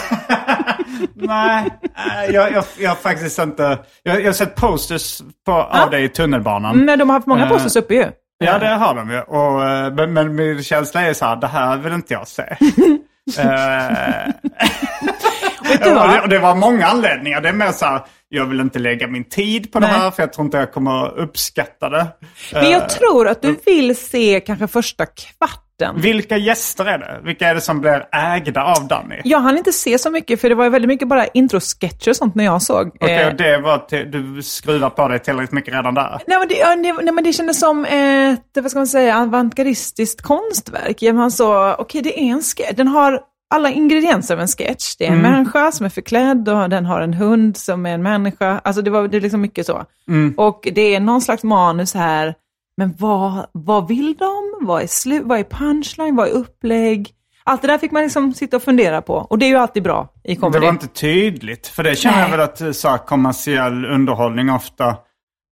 Speaker 2: (laughs) Nej, eh, jag, jag, jag har faktiskt inte... Jag, jag har sett posters på, av dig i tunnelbanan.
Speaker 3: Men de har haft många
Speaker 2: Eh,
Speaker 3: posters uppe ju.
Speaker 2: Ja, det har de ju. Och, eh, men, men min känsla är så här, det här vill inte
Speaker 3: (laughs)
Speaker 2: jag se. Eh,
Speaker 3: Vet du
Speaker 2: och, det,
Speaker 3: vad?
Speaker 2: och det var många anledningar. Det är mer så här, jag vill inte lägga min tid på det
Speaker 3: Nej.
Speaker 2: här för jag tror inte jag kommer uppskatta det.
Speaker 3: Men
Speaker 2: Eh,
Speaker 3: jag tror att du vill se kanske första kvarten.
Speaker 2: Vilka gäster är det? Vilka är det som blir ägda av Danny?
Speaker 3: Jag hann inte se så mycket, för det var ju väldigt mycket bara introsketcher och sånt när jag såg.
Speaker 2: Okej,
Speaker 3: eh,
Speaker 2: och det var till, du skruvar på dig tillräckligt mycket redan där.
Speaker 3: Nej men, det, ja, det, nej men det kändes som ett, vad ska man säga, avantgardistiskt konstverk. Ja, Man så, okej det är en sketch, den har alla ingredienser av en sketch. Det är en
Speaker 2: Mm.
Speaker 3: människa som är förklädd och den har en hund som är en människa. Alltså det var det är liksom mycket så.
Speaker 2: Mm.
Speaker 3: Och det är någon slags manus här, men vad, vad vill de? Vad är, slu, vad är punchline? Vad är upplägg? Allt det där fick man liksom sitta och fundera på. Och det är ju alltid bra i
Speaker 2: Det
Speaker 3: comedy.
Speaker 2: var inte tydligt, för det känner jag
Speaker 3: Nej.
Speaker 2: väl att eh, så här, kommersiell underhållning ofta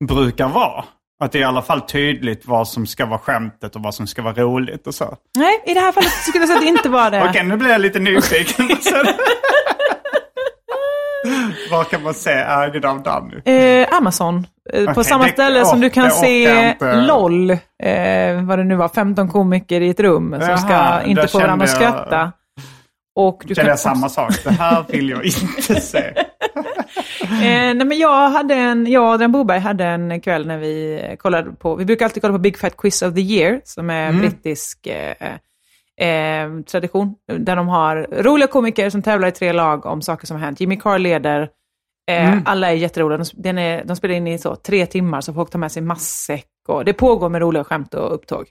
Speaker 2: brukar vara. Att det är i alla fall tydligt vad som ska vara skämtet och vad som ska vara roligt och så.
Speaker 3: Nej, i det här fallet skulle jag säga att det inte var det.
Speaker 2: (laughs) Okej, nu blir jag lite nyfiken.
Speaker 3: (laughs)
Speaker 2: Vad kan man se ägd av Danny?
Speaker 3: Eh, Amazon. Eh,
Speaker 2: Okej,
Speaker 3: på samma
Speaker 2: det-
Speaker 3: ställe som
Speaker 2: åh,
Speaker 3: du kan
Speaker 2: det orkar
Speaker 3: se
Speaker 2: jag inte.
Speaker 3: LOL, eh, vad det nu var, 15 komiker i ett rum som
Speaker 2: Jaha,
Speaker 3: ska
Speaker 2: där
Speaker 3: inte få varandra att
Speaker 2: kände jag-
Speaker 3: skratta. Och du
Speaker 2: Känner
Speaker 3: kan
Speaker 2: jag samma sak? Det här vill jag inte se.
Speaker 3: Eh, nej men jag, hade en, jag och Adrian Boberg hade en kväll när vi eh, kollade på, vi brukar alltid kolla på Big Fat Quiz of the Year, som är brittisk eh, eh, tradition, där de har roliga komiker som tävlar i tre lag om saker som har hänt. Jimmy Carr leder, eh, alla är jätteroliga, de, den är, de spelar in i så, tre timmar, så folk tar med sig matsäck och det pågår med roliga skämt och upptåg.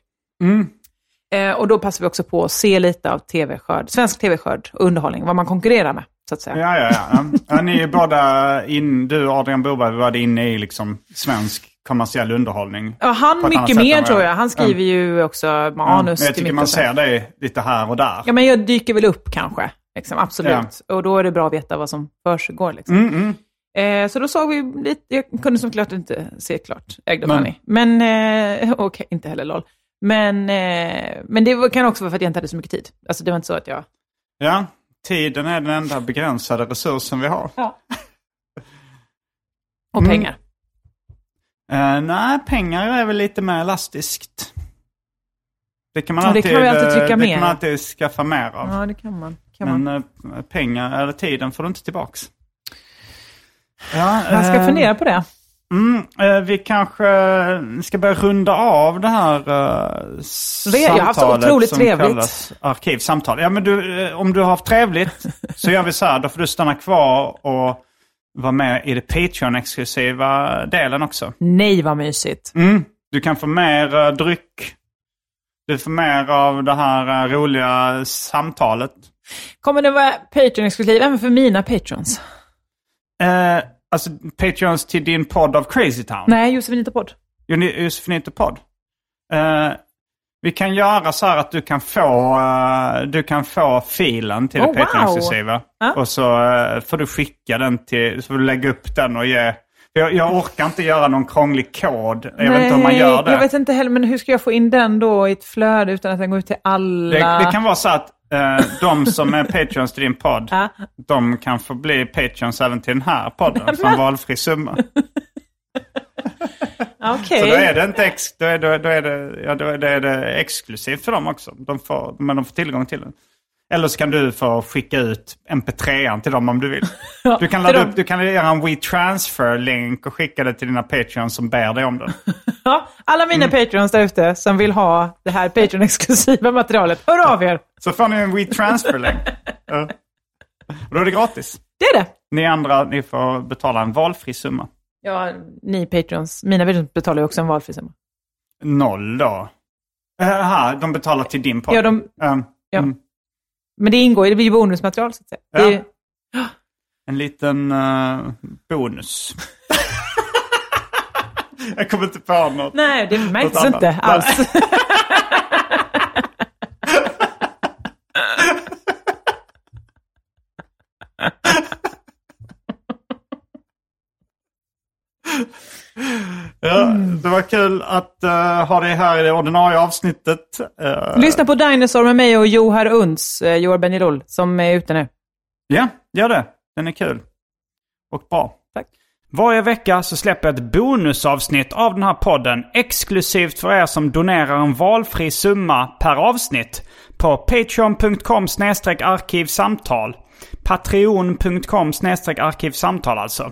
Speaker 3: Eh, och då passar vi också på att se lite av TV-skörd, svensk TV-skörd, och underhållning, vad man konkurrerar med, så att säga.
Speaker 2: Ja, ja, ja. ja ni är båda in, du och Adrian Boberg var inne i liksom svensk kommersiell underhållning.
Speaker 3: Ja,
Speaker 2: På
Speaker 3: han
Speaker 2: ett annat
Speaker 3: mycket
Speaker 2: sätt
Speaker 3: mer
Speaker 2: än vad
Speaker 3: tror
Speaker 2: jag-
Speaker 3: jag. Han skriver ju också
Speaker 2: Ja, men
Speaker 3: manus.
Speaker 2: jag
Speaker 3: till
Speaker 2: tycker
Speaker 3: mitt
Speaker 2: man
Speaker 3: och så.
Speaker 2: ser dig lite här och där.
Speaker 3: Ja, men jag dyker väl upp kanske. Liksom, absolut. Och då är det bra att veta vad som försiggår. Liksom.
Speaker 2: Mm,
Speaker 3: Eh, så då såg vi lite, jag kunde såklart inte se klart Ägda
Speaker 2: Men-
Speaker 3: Money. Men, eh, (laughs) och inte heller LOL. Men, eh, men det var- kan också vara för att jag inte hade så mycket tid. Alltså det var inte så att jag...
Speaker 2: Ja, tiden är den enda begränsade resursen vi har.
Speaker 3: Och
Speaker 2: Mm.
Speaker 3: pengar.
Speaker 2: Eh, nej, pengar är väl lite mer elastiskt. Det kan man
Speaker 3: Ja, det
Speaker 2: alltid,
Speaker 3: kan vi alltid trycka
Speaker 2: eh, det
Speaker 3: mer.
Speaker 2: kan man alltid skaffa mer av.
Speaker 3: Ja, det kan man. Kan man.
Speaker 2: Men eh, pengar eller tiden får du inte tillbaks. Ja,
Speaker 3: man ska
Speaker 2: eh,
Speaker 3: fundera på det.
Speaker 2: Mm, eh, vi kanske ska börja runda av det här eh,
Speaker 3: Vi-
Speaker 2: samtalet
Speaker 3: jag har haft så otroligt
Speaker 2: som
Speaker 3: trevligt.
Speaker 2: kallas arkivsamtal. Ja, men du, eh, om du har haft trevligt så gör vi så här. Då får du stanna kvar och vara med i det Patreon-exklusiva delen också.
Speaker 3: Nej, vad mysigt.
Speaker 2: Mm. Du kan få mer eh, dryck. Du får mer av det här eh, roliga samtalet.
Speaker 3: Kommer det vara Patreon-exklusiv även för mina patrons?
Speaker 2: Eh, alltså Patreons till din podd av Crazy Town.
Speaker 3: Nej, Josefinita Podd.
Speaker 2: Joni- Josefinito podd. Eh, Vi kan göra så här att du kan få, eh, du kan få filen till
Speaker 3: Oh,
Speaker 2: det Patreon-exklusiva.
Speaker 3: Ja.
Speaker 2: Och så eh, får du skicka den till, så får du lägga upp den och ge. Jag, jag orkar inte göra någon krånglig kod. Jag vet inte hur man gör det.
Speaker 3: Jag vet inte heller, men hur ska jag få in den då i ett flöde utan att den går ut till alla?
Speaker 2: Det, det kan vara så att eh, de som är patreons till din podd,
Speaker 3: Ja.
Speaker 2: de kan få bli patreons även till den här
Speaker 3: (laughs)
Speaker 2: podden för en valfri summa.
Speaker 3: Okej.
Speaker 2: Så då är det, inte ex, då är, då, då är det, ja, då är det, är det exklusivt för dem också. De får, men de får tillgång till den. Eller så kan du få skicka ut mp3an till dem om
Speaker 3: (laughs)
Speaker 2: du vill. Du kan,
Speaker 3: till
Speaker 2: ladda
Speaker 3: dem.
Speaker 2: upp, du kan göra en WeTransfer-länk och skicka det till dina patreons som ber dig om den.
Speaker 3: Ja, alla mina
Speaker 2: Mm.
Speaker 3: patreons där ute som vill ha det här Patreon-exklusiva materialet, hör av er!
Speaker 2: Så får ni en
Speaker 3: (laughs)
Speaker 2: WeTransfer-länk. Ja. Och då är det gratis.
Speaker 3: Det är det!
Speaker 2: Ni andra, ni får betala en valfri summa.
Speaker 3: Ja, ni patreons, mina patreons betalar ju också en valfri summa.
Speaker 2: Noll då? Jaha, de betalar till din podd?
Speaker 3: Ja, de,
Speaker 2: Ehm,
Speaker 3: ja.
Speaker 2: mm,
Speaker 3: Men det ingår ju, det blir ju bonusmaterial så att säga. Det är,
Speaker 2: Ja. en liten eh, bonus. (laughs) Jag kommer inte på något.
Speaker 3: nej, det märks
Speaker 2: Något annat.
Speaker 3: inte alls.
Speaker 2: Ja, Det var kul att eh, ha dig här i det ordinarie avsnittet. Eh,
Speaker 3: (laughs) Lyssna på Dinosaur med mig och Johar Uns, eh, Johar Benilol, som är ute nu.
Speaker 2: Ja, gör det. Den är kul. Och bra.
Speaker 3: Tack.
Speaker 5: Varje vecka så släpper jag ett bonusavsnitt av den här podden exklusivt för er som donerar en valfri summa per avsnitt på patreon.com arkivsamtal. Patreon.com arkivsamtal alltså.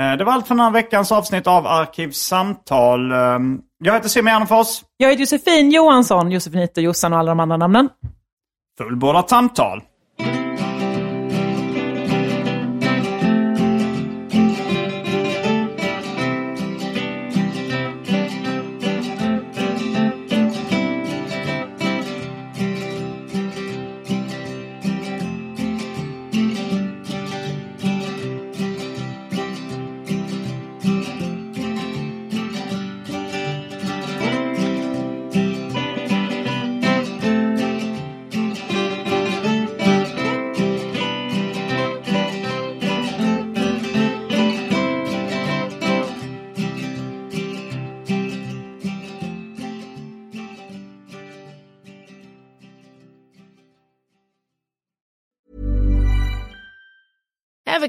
Speaker 2: Eh, det var allt för den här veckans avsnitt av Arkivsamtal. Eh, jag heter Simon Gärdenfors.
Speaker 3: Jag heter Josefin Johansson, Josefinito, Jossan och alla de andra namnen.
Speaker 2: Fullbordat samtal.
Speaker 6: Ever